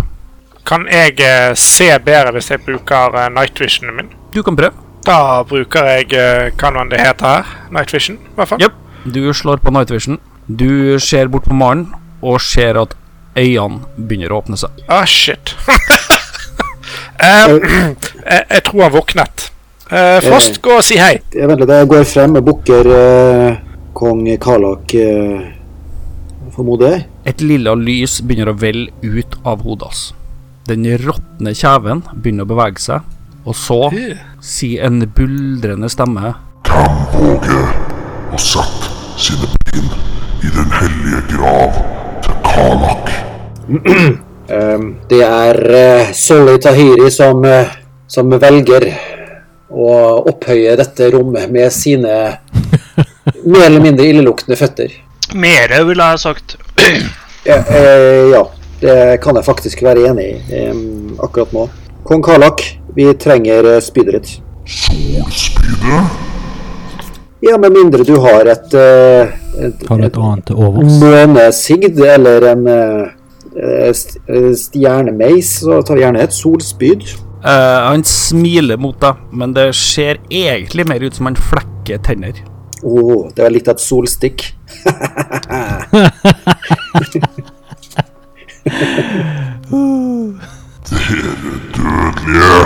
Kan jeg eh, se bedre hvis jeg bruker eh, night visionen min? Du kan prøve. Da bruker jeg eh, Hva nå enn det heter her? Night vision, i hvert fall. Ja. Du slår på night vision. Du ser bort på Maren og ser at øynene begynner å åpne seg. Ah, shit. Eh, jeg, jeg tror han våknet. Eh, Frost, gå og si hei. Jeg venter litt, jeg går frem og bukker eh, kong Karlak, eh, formoder jeg. Et lilla lys begynner å velle ut av hodet hans. Den råtne kjeven begynner å bevege seg, og så sier en buldrende stemme Hvem våger å sette sine ben i den hellige grav til Kalak? Ehm, det er uh, Soli Tahiri som, eh, som velger å opphøye dette rommet med sine mer eller mindre illeluktende føtter. Mere ville jeg sagt. Ja, eh, ja, det kan jeg faktisk være enig i ehm, akkurat nå. Kong Karlak, vi trenger eh, spydet ditt. Solspydet? Ja, med mindre du har et, eh, et, Har et du et annet til overs? månesigd eh, eller en eh, eh, st- eh, stjernemeis, så tar vi gjerne et solspyd. Eh, Han smiler mot deg, men det ser egentlig mer ut som han flekker tenner. Å, Oh, det var likt et solstikk. Dødelige!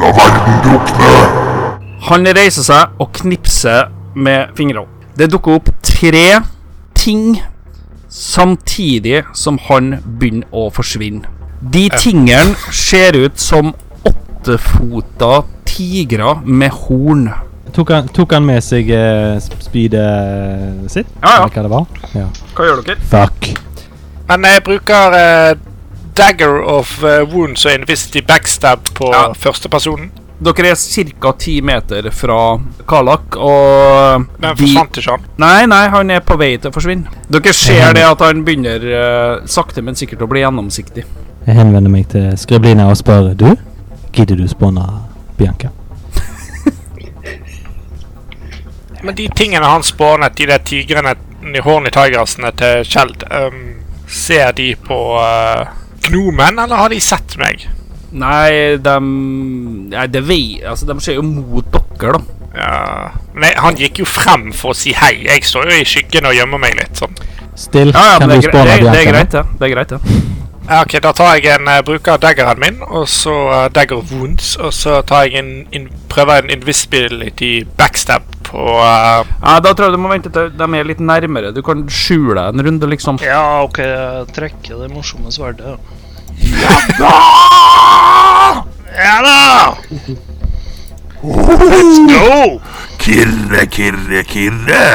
La verden drukne! Han reiser seg og knipser med fingrene. Det dukker opp tre ting samtidig som han begynner å forsvinne. De tingene ser ut som åttefota tigre med horn. Tok han, tok han med seg eh, spydet sitt? Ja, ja. Eller hva det var? Ja. Hva gjør dere? Fuck. Men jeg bruker eh, Dagger of eh, Wounds og Invisity Backstab på Ja. førstepersonen. Dere er ca. ti meter fra Kalak, og Men de forsvant ikke han. Nei, nei, han er på vei til å forsvinne. Dere ser det at han begynner eh, sakte, men sikkert å bli gjennomsiktig. Jeg henvender meg til Skriblina og spør Du, gidder du spåne Bianca? Men de tingene han spånet, de der tigrene, de horny tigersene til Kjeld ehm, Ser de på eh, gnomen, eller har de sett meg? Nei, de Nei, det vei... Altså, de ser jo mot dere, da. Ja. Men jeg, han gikk jo frem for å si hei. Jeg står jo i skyggen og gjemmer meg litt. sånn. Still, Ja, ja, kan men det du er, greit, spåne det, det er Bianca? greit, det. Det er greit, det. Ja, ok, Da tar jeg en eh, bruker av daggeren min, og så eh, dagger of wounds. Og så tar jeg en, in, prøver en invisibility backstab på eh, Nei, da tror jeg du må vente til de er litt nærmere. Du kan skjule deg en runde, liksom. Ja, OK, jeg trekker det morsomme sverdet. Ja da! Go! Kirre, kirre, kirre!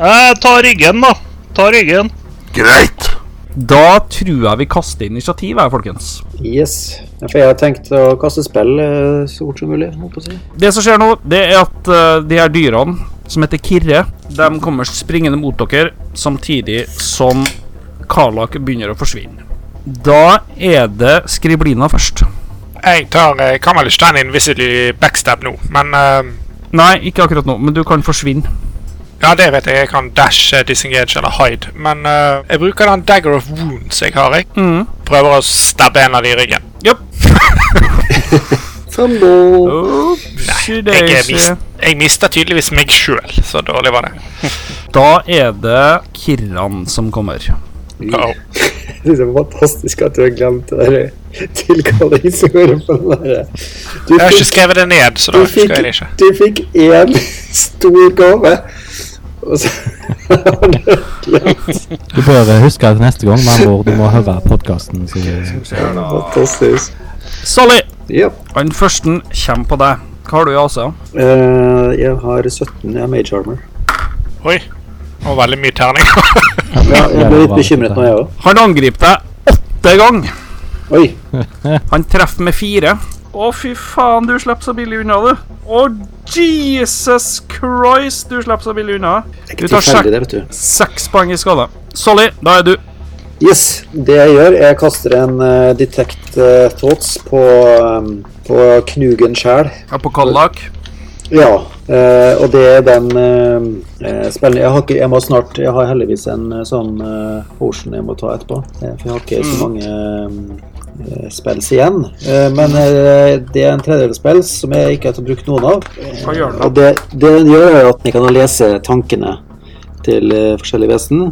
Jeg tar ryggen, da. Ta ryggen. Greit! Da tror jeg vi kaster initiativ her, folkens. Yes. Ja, For jeg har tenkt å kaste spill eh, så fort som mulig. holdt på å si. Det som skjer nå, det er at eh, de her dyrene, som heter Kirre, de kommer springende mot dere samtidig som Karlak begynner å forsvinne. Da er det Skriblina først. Jeg tar, eh, kan vel ikke ta en invisible backstab nå, men eh, Nei, ikke akkurat nå, men du kan forsvinne. Ja, det vet jeg. Jeg kan dash, eh, disengage eller hide. Men eh, jeg bruker den dagger of wounds jeg har. jeg. Mm. Prøver å stabbe en av de i ryggen. Fumble. Oopsie Jeg, eh, daisy. mist, jeg mister tydeligvis meg sjøl, så dårlig var det. Da er det Kirran som kommer. Uh-oh. Det er fantastisk at du har glemt det der tilkallingsåret på den derre. Du, Jeg har ikke fikk- skrevet det ned, så da du, husker jeg det fikk- ikke. du fikk én stor gave, og så har du glemt. Du bør eh, huske at neste gang, med andre ord, du må høre podkasten. Fantastisk. Solly! Ja. Han første kommer på deg. Hva har du i AC? Eh, jeg har 17, jeg har mage armor. Oi. Og veldig mye terninger. Ja, jeg ble litt bekymret nå, jeg òg. Han angriper deg åtte ganger. Oi. Han treffer med fire. Å, fy faen, du slipper så billig unna, du. Å, Jesus Christ, du slipper så billig unna. Det er Du ikke tar tilfeldig, det, vet du. Seks poeng i skade. Solly, da er du. Yes, det jeg gjør, jeg kaster en eh, detect eh, thoughts på, um, på Knugen sjæl. Ja, på Kallak. Ja, eh, og det er den eh, eh, spillen jeg, har ikke, jeg må snart Jeg har heldigvis en eh, sånn eh, potion jeg må ta etterpå. eh, For jeg har ikke så Mm. mange eh, spells igjen. Eh, men eh, det er en tredjedel spells som jeg ikke har brukt noen av. Hva gjør den da? Og det, det den gjør, er at den kan lese tankene til eh, forskjellige vesen.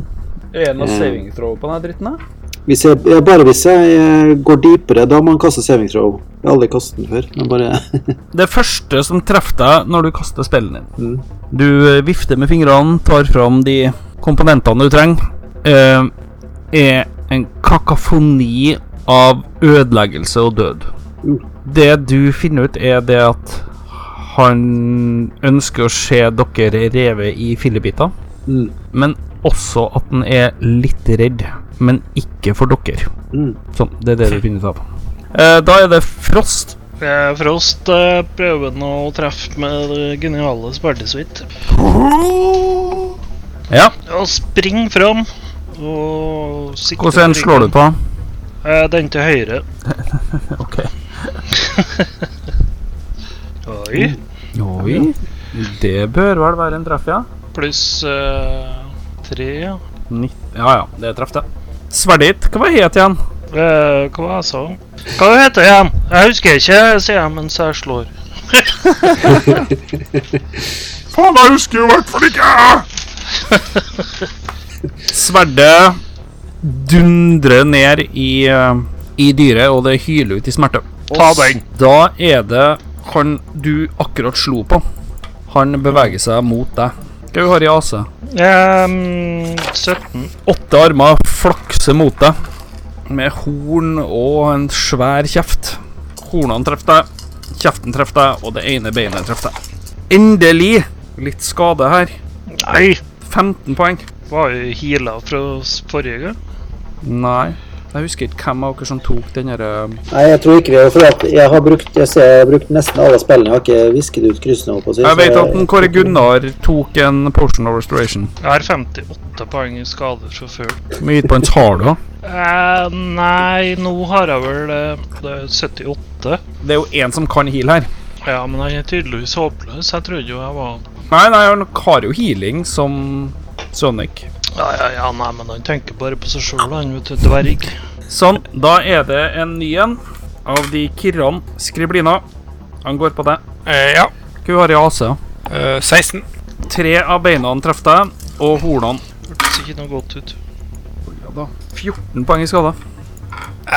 Er det noe Mm. saving throw på denne dritten? da? Hvis jeg, ja, bare hvis jeg eh, går dypere, da må man kaste saving throw. Jeg har aldri kastet den før. Men bare Det første som treffer deg når du kaster spillen din Mm. Du eh, vifter med fingrene, tar fram de komponentene du trenger, eh, er en kakofoni av ødeleggelse og død. Uh. Det du finner ut, er det at han ønsker å se dere reve i fillebiter, mm, men også at han er litt redd, men ikke for dere. mm. Sånn, det er det du finner ut av. Eh, da er det Frost. Eh, Frost eh, prøver nå å treffe med det geniale sverdet sitt. Ja. Og spring fram. Og sikte Hvordan på slår du ryggen. på? Eh, den til høyre. Ok. Oi. Mm. Oi. Det bør vel være en treff, ja. Pluss eh, tre. Nitt. Ja ja, det treff, det. Sverdet ditt, hva het det igjen? Eh, hva var det jeg sa? Hva heter jeg? Jeg husker ikke, sier jeg mens jeg slår. Faen, jeg husker jo i hvert fall ikke! Sverdet dundrer ned i, eh, i dyret, og det hyler ut i smerte. Ta den. Da er det han du akkurat slo på. Han beveger seg mot deg. Hva du har i AC? Ehm, 17. Åtte armer flakser mot deg, med horn og en svær kjeft. Hornene treffer deg, kjeften treffer deg, og det ene beinet treffer deg. Endelig! Litt skade her. Nei! 15 poeng. Var jo heala fra s- forrige gang. Nei. Jeg husker ikke hvem av dere som tok den eh. derre Nei, jeg tror ikke det. For at jeg har brukt, jeg ser, jeg har brukt nesten alle spillene. Jeg har ikke visket ut kryssene. holdt på å si, så Jeg vet at den Kåre Gunnar tok en portion of restoration. Jeg har 58 poeng i skade fra før. Hvor mye points har du? da? Eh, nei, nå har jeg vel eh, det er 78. Det er jo én som kan heal her. Ja, men han er tydeligvis håpløs. Jeg trodde jo jeg var Nei, nei, han har jo healing som Sonic. Ja, ja, ja, nei, men han tenker bare på seg sjøl, han, vet du. Dverg. Sånn, da er det en ny en av de kirrene. Skriblina. Han går på deg. Eh, ja. Hun har i AC. Eh, 16. Tre av beina treffer deg, og hornene. Hørtes ikke noe godt ut. 14 poeng i skade.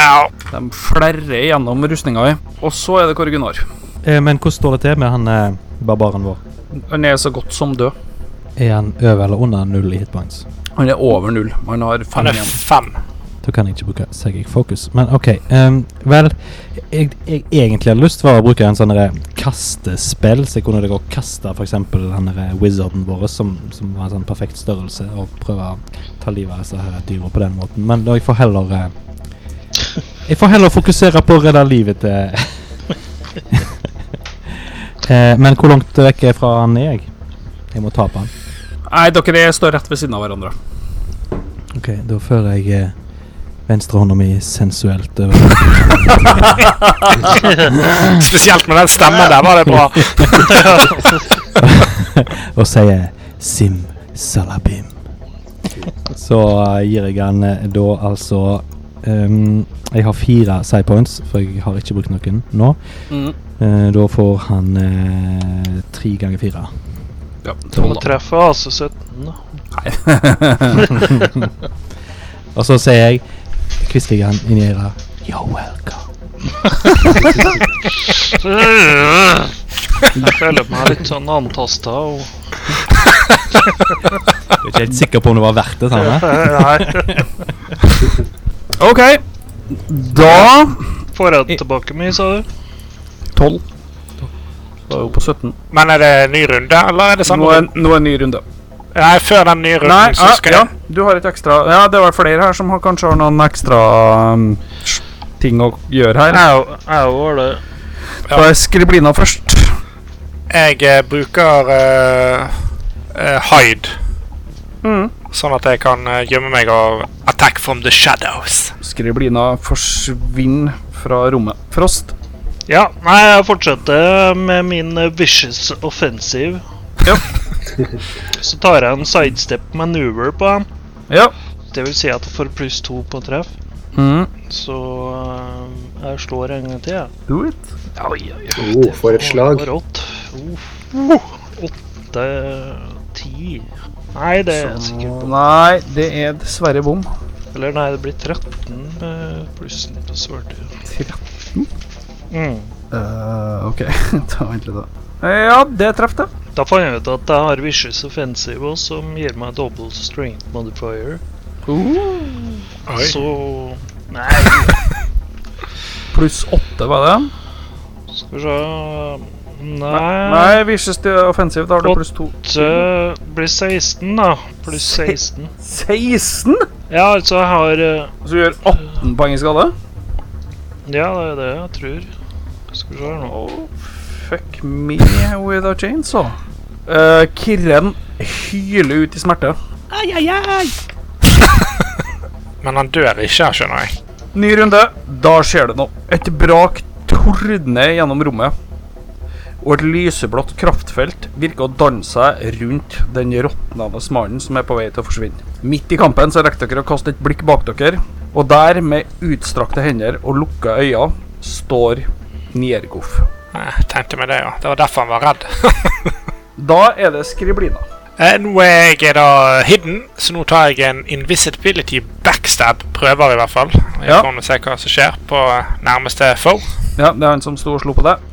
Au. De flerrer gjennom rustninga di. Og så er det Kåre Gunnar. Eh, men hvordan står det til med han eh, barbaren vår? Han er så godt som død. Er han over eller under null i hitpoints? Han er over null. Han har fem Han er igjen. fem. Da kan jeg ikke bruke Psychic Focus. Men OK. ehm, vel, jeg, jeg egentlig hadde lyst til å bruke en sånn derre kastespill, så jeg kunne gå og kaste f.eks. den derre wizarden vår som, som var en sånn perfekt størrelse, og prøve å ta livet av disse her dyra på den måten. Men da jeg får heller eh, Jeg får heller fokusere på å redde livet til Eh, Men hvor langt vekk er fra han er jeg? Jeg må ta på han. Nei, dere står rett ved siden av hverandre. Ok, da føler jeg eh, venstrehånda mi sensuelt over Spesielt med den stemmen der, var det bra. og sier Sim Salabim. Så eh, gir jeg han eh, da altså ehm, Jeg har fire side points, for jeg har ikke brukt noen nå. Mm. Eh, da får han eh, tre ganger fire. Ja, Du må tolv da. treffe AC17, da. Og så sier jeg Kvisker jeg han inn i øret. You're welcome. Jeg føler meg litt sånn antasta og Jeg er ikke helt sikker på om det var verdt det. Sånn, Nei. OK. Da Får jeg tilbake mye, sa du? 12. Da er vi på 17. Men er det ny runde, eller er det samme Nå er, runde? nå er en ny runde. Nei, før den nye runden, Nei, så ja, skal ja, jeg du har et ekstra Ja, det var flere her som har, kanskje har noen ekstra um, ting å gjøre her. Jeg jeg var det. ja. Da er Skriblina først. Jeg eh, bruker eh, eh, hide, Mm. sånn at jeg kan eh, gjemme meg og attack from the shadows. Skriblina forsvinner fra rommet. Frost. Ja, nei, jeg fortsetter med min eh, vicious offensive. Ja. Så tar jeg en sidestep maneuver på den. Ja. Det vil si at jeg får pluss to på treff. Mm. Så eh, jeg slår en gang til, jeg. Do it. Oi, oi, oi. Oh, for et slag. Det var rått. Oh, åtte Ti Nei, det er jeg sikker på. Nei, det er dessverre bom. Eller nei, det blir 13 med plussen på svarte. 13? Mm. Eh, OK, da vent litt, da. Ja, det traff det. Da fant jeg ut at jeg har Vicious Offensive også, som gir meg double strength modifier. Uh, Oi. Så Nei, Pluss åtte, var det? skal vi se Nei, Nei, vicious til offensive, da har du pluss to. det blir 16, da. Pluss 16. 16? Ja, altså, jeg har eh, Så du gjør 18 poeng i skade? Ja, det er det jeg tror. Skal vi se her nå. Oh, fuck me with a chainsaw. Uh, Kirren hyler ut i smerte. Men han dør ikke, skjønner jeg. Ny runde. Da skjer det noe. Et brak tordner gjennom rommet. Og et lyseblått kraftfelt virker å danne seg rundt den råtnende mannen som er på vei til å forsvinne. Midt i kampen så rekker dere å kaste et blikk bak dere, og der, med utstrakte hender og lukka øyne, står Niergoff. Jeg tenkte meg det, ja. Det var derfor han var redd. Da er det Skriblina. Eh, Nå er jeg da hidden, så nå tar jeg en invisibility backstab. Prøver i hvert fall. Jeg Ja. får nå se hva som skjer på eh, nærmeste foe. Ja, det er han som sto og slo på deg.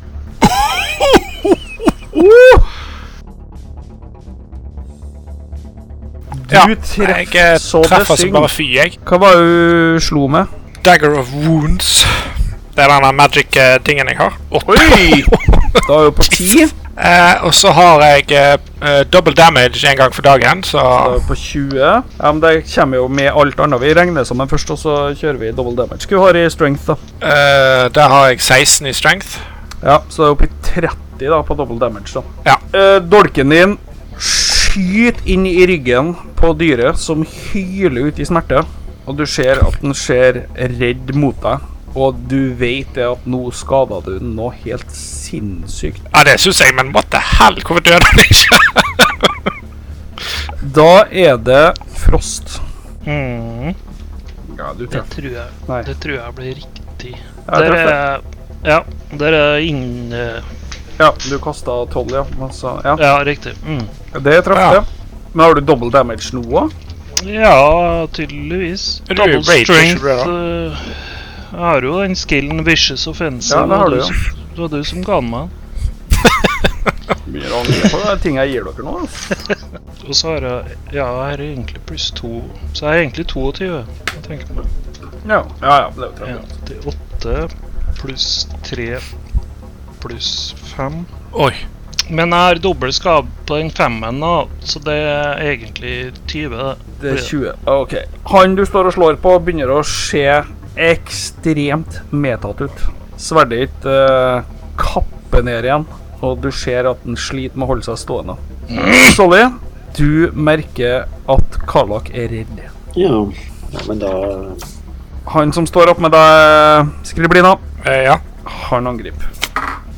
Du Ja, treff, jeg eh, så det treffer som syng. bare fy, jeg. Hva var du slo med? Dagger of Wounds. Det er den magic-tingen jeg har. Åtte. Da er jo på ti. Eh, og så har jeg eh, eh, double damage en gang for dagen, så Da er vi på 20. Ja, men det kommer jo med alt annet. Vi regner sammen først, og så kjører vi double damage. Hva har i strength, da? eh, Der har jeg 16 i strength. Ja, Så det er oppe i 30 da, på double damage. da. Ja. Eh, dolken din skyter inn i ryggen på dyret, som hyler ut i smerte. Og du ser at den ser redd mot deg, og du vet det at nå skada du den noe helt sinnssykt. Ja, det syns jeg, men what the hell? Hvorfor døde han ikke? Da er det frost. Mm, Ja, du det treffer. tror jeg. Nei. Det tror jeg blir riktig. Ja, jeg der treffer. er Ja, der er inn... eh, Ja, du kasta tolv, ja. Men så- ja. Ja, riktig. Mm. Det traff, Ja. det. Men har du double damage nå òg? Ja, tydeligvis. Er du Double rage, strength ikke du, eh, Jeg har jo den skillen Vicious Offensive. Ja, det har og du, ja. som- Det var du som ga den meg. Begynner å angre på de tinga jeg gir dere nå. altså. Og så har jeg Ja, jeg har egentlig pluss to. Så jeg er egentlig 22. Jeg tenker meg Ja, ja. ja det er jo traff, ja. 1-8 pluss 3 pluss 5. Oi. Men jeg har dobbel skade på den femmen, da, så det er egentlig 20. det. Det er 20. Ok. Han du står og slår på, begynner å se ekstremt medtatt ut. Sverdet ditt eh, kapper ned igjen, og du ser at den sliter med å holde seg stående. Mm. Solly, du merker at Karlak er redd. Ja. ja, men da eh, Han som står opp med deg, Skriblina, Eh, ja. han angriper.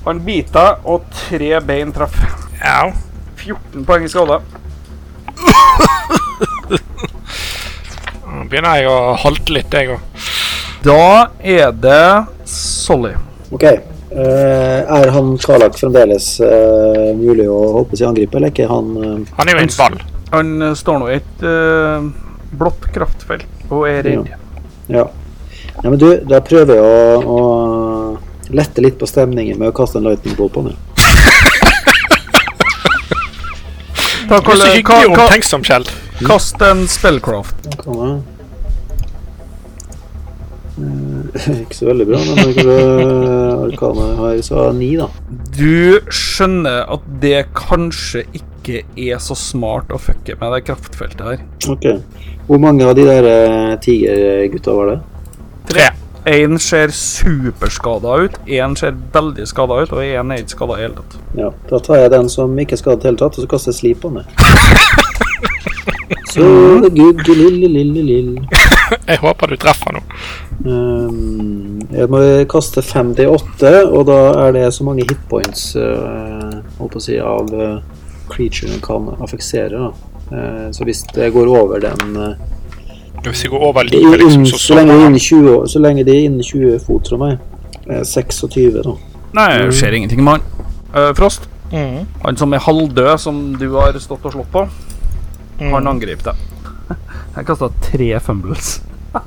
Han biter deg, og tre bein treffer. Au. 14 poeng i skade. Nå begynner jeg å halte litt, jeg òg. Da er det Solly. OK. Eh, er han Karlak fremdeles eh, mulig å håpe seg angripe, eller er ikke han eh, Han er jo en ball. Han eh, står nå i et eh, blått kraftfelt og er redd. Ja. Nei, men du, da prøver jeg å, å lette litt på stemningen med å kaste en lightning bolt på ham. Ta, Du er så Kalle, ka, hyggelig og ka, omtenksom, Kjell. kast en spellcraft. Ikke så veldig bra, men det er kanskje eh, Arkane har så ni, da. Du skjønner at det kanskje ikke er så smart å fucke med det kraftfeltet her. Ok. Hvor mange av de der eh, tigergutta var det? Tre. Én ser superskada ut, én ser veldig skada ut, og én er ikke skada i det hele tatt. Ja, Da tar jeg den som ikke er skadet i det hele tatt, og så kaster jeg slip på den. jeg. Så gud, lill, lill, lill, lill. Jeg håper du treffer nå. Ehm, jeg må kaste 5D8, og da er det så mange hitpoints eh, holdt på å si, av eh, creaturen kan affeksere. Da. Eh, så hvis det går over den eh, Hvis jeg går over det er livet, liksom, innen- så så, lenge det er sånn. innen 20, år- så lenge det er innen 20 fot fra meg. eh, 26, da. Nei, det skjer ingenting med han. Eh, Frost, Mm. han som er halvdød, som du har stått og slått på, Mm. han angriper deg. Jeg kasta tre fumbles. da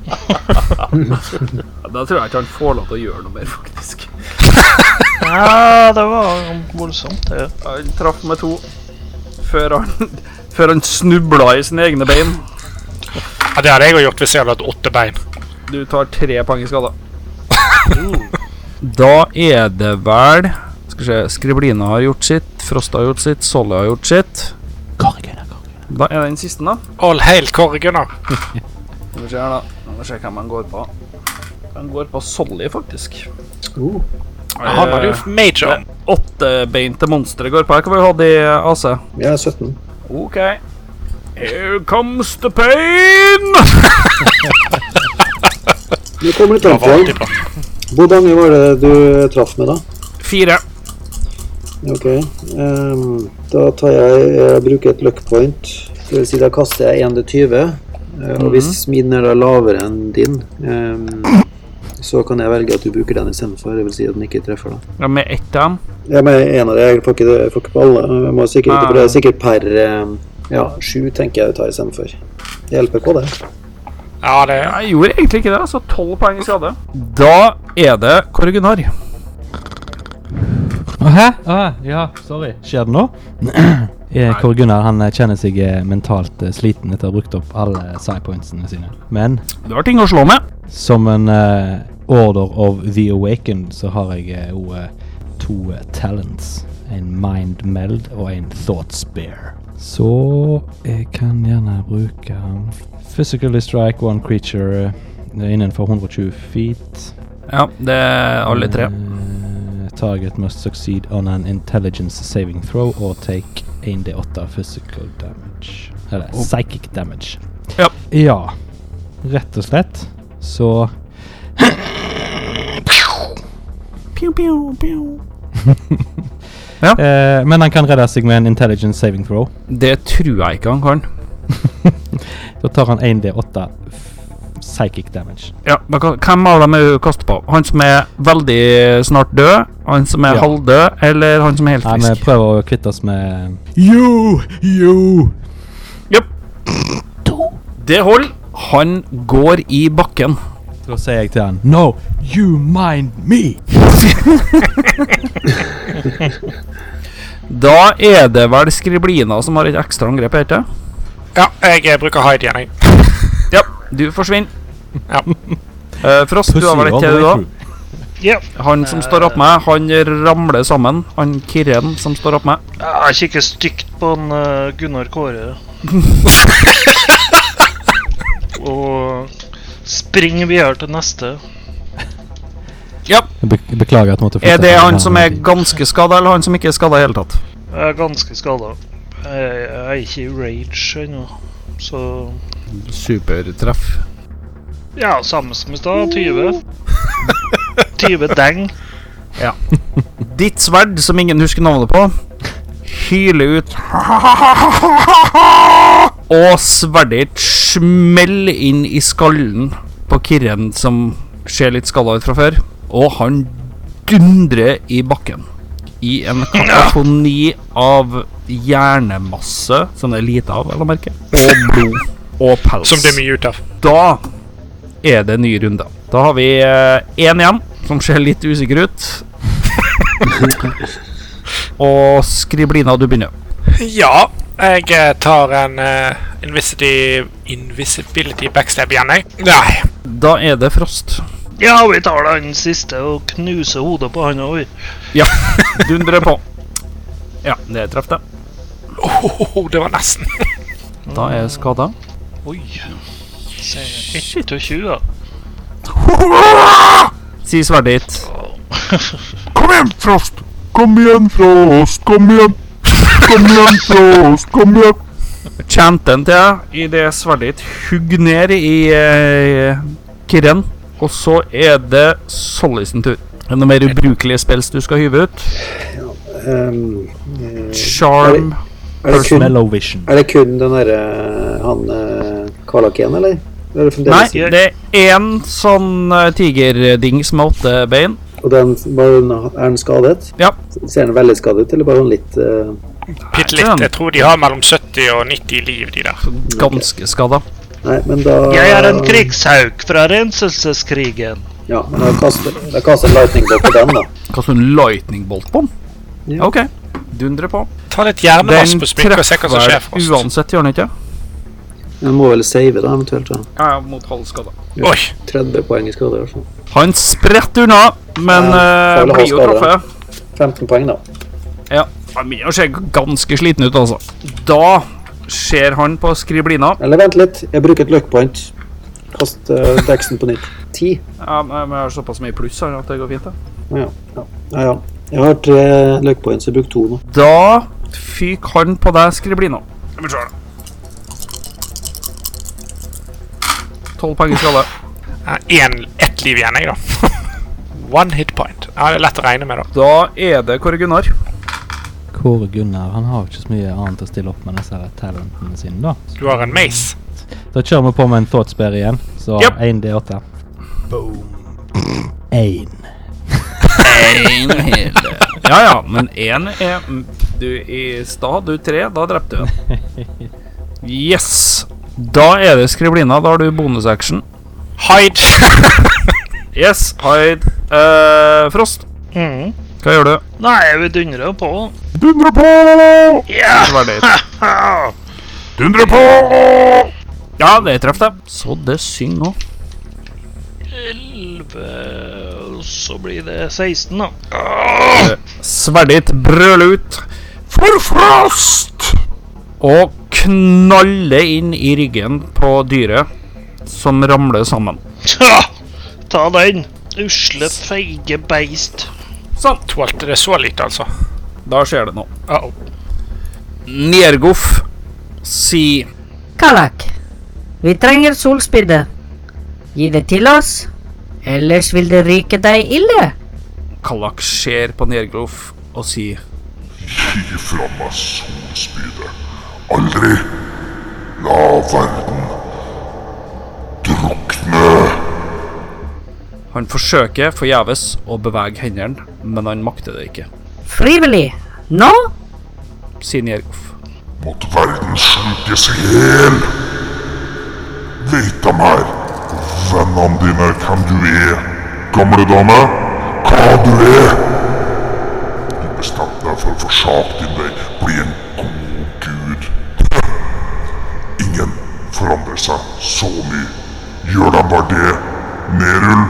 tror jeg ikke han får lov til å gjøre noe mer, faktisk. Ja, det var voldsomt, det. Han traff med to før han, før han snubla i sine egne bein. Ja, det hadde jeg jo gjort hvis jeg hadde hatt åtte bein. Du tar tre poeng i skade. Da er det vel Skal vi se Skriblina har gjort sitt, Frosta har gjort sitt, Solly har gjort sitt. Da er det den siste, da. All hail Kåre Gunnar. Skal vi se her, da. Nå må vi se hvem han går på. Han går på Solly, faktisk. Oh. Han hadde jo major. Åttebeinte monstre går på. Her kan vi ha det, AC. Jeg er 17. OK. Here comes the pain! Nå kommer litt Det an var alltid på. bra. Hvor mange var det du traff med, da? Fire. Ok. ehm, da tar jeg, jeg bruker et luck point. Det vil si da kaster jeg 1D20. eh, Og hvis min er da lavere enn din, ehm, så kan jeg velge at du bruker den istedenfor. Det vil si at den ikke treffer, da. Ja, med ett av dem. Jeg mener en av det, jeg får ikke, jeg får ikke på alle. Eh, Jeg må sikkert ikke på det. er Sikkert per ehm, ja, sju, tenker jeg å ta istedenfor. Det hjelper på, det. Ja, det er Jeg gjorde egentlig ikke det, så tolv poeng i skade. Da er det Kåre Gunnar. Å, Hæ? Ah, ja, sorry. Skjer det nå? Eh, Kåre Gunnar han eh, kjenner seg eh, mentalt eh, sliten etter å ha brukt opp alle sidepointsene sine. Men Du har ting å slå med. som en eh, order of the awakened så har jeg eh, jo eh, to eh, talents. En mind meld og en thought spare. Så jeg kan gjerne bruke physically strike one creature eh, innenfor 120 feet. Ja, det er alle tre. Uh, target must succeed on an intelligence saving throw or take 1d8 physical damage. Eller psychic damage. Oh. Ja. ja. Rett og slett så Pew, pew, pew. eh, Men han kan redde seg med en intelligence saving throw. Det tror jeg ikke han kan. Da tar han 1d8 f- psychic damage. Ja, men hva- Hvem av dem er du kaster på? Han som er veldig snart død? Han som er Ja. halvdød? Eller han som er helt Nei, vi frisk? prøver å kvitte oss med Yo! Yo! Det holder. Han går i bakken. Da sier jeg til han No, you mind me! Da er det vel Skriblina som har et ekstra angrep, heter det? Ja, jeg eh, bruker hide igjen, jeg. Ja, du forsvinner. Ja. Eh, Frost, du har vel et all the til, way du òg? through. Ja. Han som står opp med, han ramler sammen. Han Kirren som står opp med. Jeg kikker stygt på en eh, Gunnar Kåre. Og springer videre til neste. Jeg bek- beklager at jeg måtte Er flytte det på han den som her er tiden. ganske skada, eller han som ikke er skada i det hele tatt? Jeg er ganske skada. Jeg, jeg er ikke i rage ennå. Så Supertreff. ja, samme som i stad. 20. 20 deng. Ditt sverd, som ingen husker navnet på, hyler ut Og sverdet ditt smeller inn i skallen på Kirren, som ser litt skalla ut fra før. Og han dundrer i bakken. I en kakofoni av hjernemasse, som det er lite av, vel å merke, og blod og pels. Som det er mye ut av. Da er det ny runde. Da har vi én igjen, som ser litt usikker ut. Og Skriblina, du begynner. Ja, jeg eh, tar en eh, invisibility, invisibility backstab igjen, jeg. Nei. Da er det Frost. Ja, vi tar den siste og knuser hodet på han òg. Ja, dundrer på. Ja, det traff det. Ohoho, Oh, det var nesten. Da er jeg skada. Oi. Se, 21. da. Si sverdet ditt. Kom igjen, Frost! Kom igjen, Frost! Kom igjen! Kom igjen, Frost! Kom igjen! Chanten til deg idet sverdet ditt hugg ned i eh, Kirren. Og Og så er det Solly sin tur. Er det noen mer ubrukelige spels du skal hyve ut? Ehm, eh, Charm er, det kun, Mellow Vision. er det kun den derre han eh, Karlak igjen, eller? Er det Nei, fremdeles- det er én sånn eh, tigerding som har åtte bein. Og den, var den, er den skadet? Ja. Ser den veldig skadet ut, eller bare sånn litt eh, Bitte litt. Jeg tror de har mellom 70 og 90 liv, de der. Ganske skada. Nei, men da Jeg er en krigshauk fra renselseskrigen. Ja, men da kaster da kaster jeg lightning bolt på den, da. Kaster du en lightning bolt på den? Ja. OK, dundrer på. Ta litt hjernevask på sminket og se hva som altså. skjer treffer vel først. uansett, gjør den ikke? Den må vel save, da, eventuelt. da. Ja, ja, mot halv skade. Oi, 30 poeng i skade, i hvert fall. Han spretter unna, men Ja, eh, føler blir jo halv skade. truffet. 15 poeng, da. Ja, han begynner å se ganske sliten ut, altså. Da ser han på skriblina. Eller vent litt, jeg bruker et luck point. Kast uh, deksen på nytt. 10. Ja, men men jeg har såpass mye pluss her at det går fint, det. Ja, ja. ja, ja. Jeg har tre luck points, jeg bruker to nå. Da fyker han på deg skriblina. Skal vi se, da. Tolv poeng i skade. én Eh, ett liv igjen, jeg, da. One hit point. Ja, det er lett å regne med, da. Da er det Kåre Gunnar. Kåre Gunnar han har jo ikke så mye annet å stille opp med disse her talentene sine, da. Du har en mace. Da kjører vi på med en Thoughtspear igjen, så Japp. 1D8. Boom. 1. Ja ja, men én er mm, Du i stad, du tre. Da drepte du en. Yes. Da er det skriblina. Da har du bonusaction. Hide. Yes, hide. Eh, Frost, Mhm. hva gjør du? Nei, vi dundrer jo på. Dundre på! Ja! Hva er det? Dundre på! Ja, det treff det. Så det synger òg. 11 Så blir det 16, da. Sverdet ditt brøler ut For frost! og knaller inn i ryggen på dyret, som ramler sammen. Tja! Ta den. Usle, feige beist. Sånn. Tålte det så lite, altså. Da skjer det noe. Uh -oh. Nergoff sier Kalak, vi trenger solspidde. Gi det til oss, ellers vil det ryke deg ille. Kallak ser på Nergoff og sier Gi fra meg solspydet. Aldri la verden drukne. Han forsøker forgjeves å bevege hendene, men han makter det ikke, Frivillig. Nå? sier Nergoff. Måtte verden slukke seg hel. Veit dem her. Vennene dine hvem du er. Gamle dame, hva du er. Du bestemte deg for å forsake din vei. Bli en god gud. Ingen forandrer seg så mye. Gjør dem bare det. Nerull.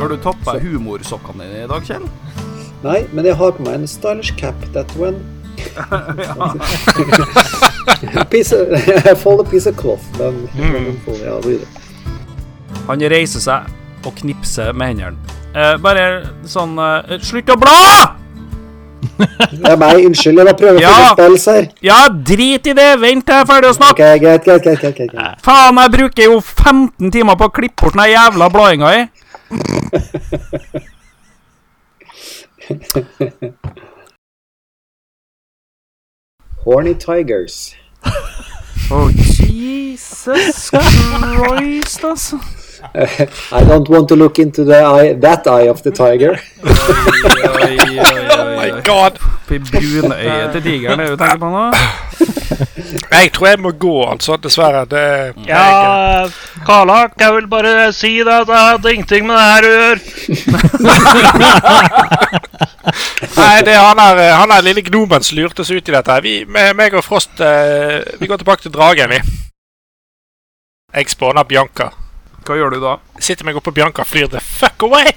Har du tatt på deg humorsokkene dine i dag, Kjell? Nei, men jeg har på meg en stylish cap, that one. piece of, I fold a piece of cloth, men men får- ja, det gjør det. Han reiser seg og knipser med hendene. Eh, bare sånn eh, Slutt å bla! det er meg, unnskyld, jeg bare prøver å Ja. finne spels her. Ja, drit i det! Vent til jeg er ferdig å snakke! Ok, greit, greit, greit, greit, greit, greit. Faen, jeg bruker jo 15 timer på å klippe bort den jævla bladinga i! Horny Tigers. Oh, Jesus Christ, altså. I don't want to look into the eye, that eye of the tiger. Oi, oi, oi, oi. Oh God. Oppi brunøyet til tigeren, er det du tenker på nå? Jeg tror jeg må gå, altså. Dessverre. Det jeg, Ja, Karlak, jeg vil bare si deg at jeg hadde ingenting med det her å gjøre. Nei, det er han her, eh, han her lille gnomen som lurte oss ut i dette. her. Vi, me- meg og Frost eh, Vi går tilbake til dragen, vi. Jeg spåner Bianca. Hva gjør du da? Sitter meg oppå Bianca og flyr the fuck away!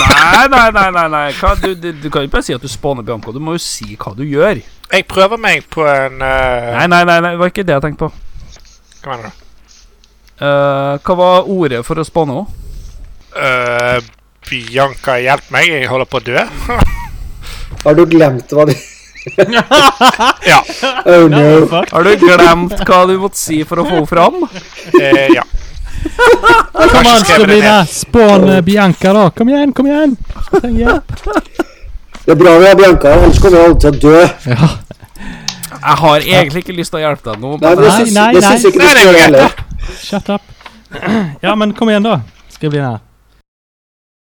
Nei, nei, nei. nei, nei. Hva, du, du, du kan ikke bare si at du spåner Bianca. Du må jo si hva du gjør. Jeg prøver meg på en eh, Nei, nei, nei, nei det var ikke det jeg tenkte på. Hva mener du? Eh, hva var ordet for å spåne henne? Eh, Bianca, hjelp meg, jeg holder på å dø. Har du glemt hva du Ja. Oh no. Har du glemt hva du måtte si for å få henne fram? Eh, ja. Kom Kanskje an, skrev jeg det ned. Sabrina! Spån eh, Bianca, da. Kom igjen, kom igjen! Trenger hjelp. Det er bra vi har Bianca, ellers kommer hun til å dø. Ja. Jeg har egentlig ikke lyst til å hjelpe deg nå. Nei, Men det Nei, syns nei, det nei. syns ikke du Nei, det skal går gjøre greit, heller. Shut up. Ja, men kom igjen, da. Skriv det ned.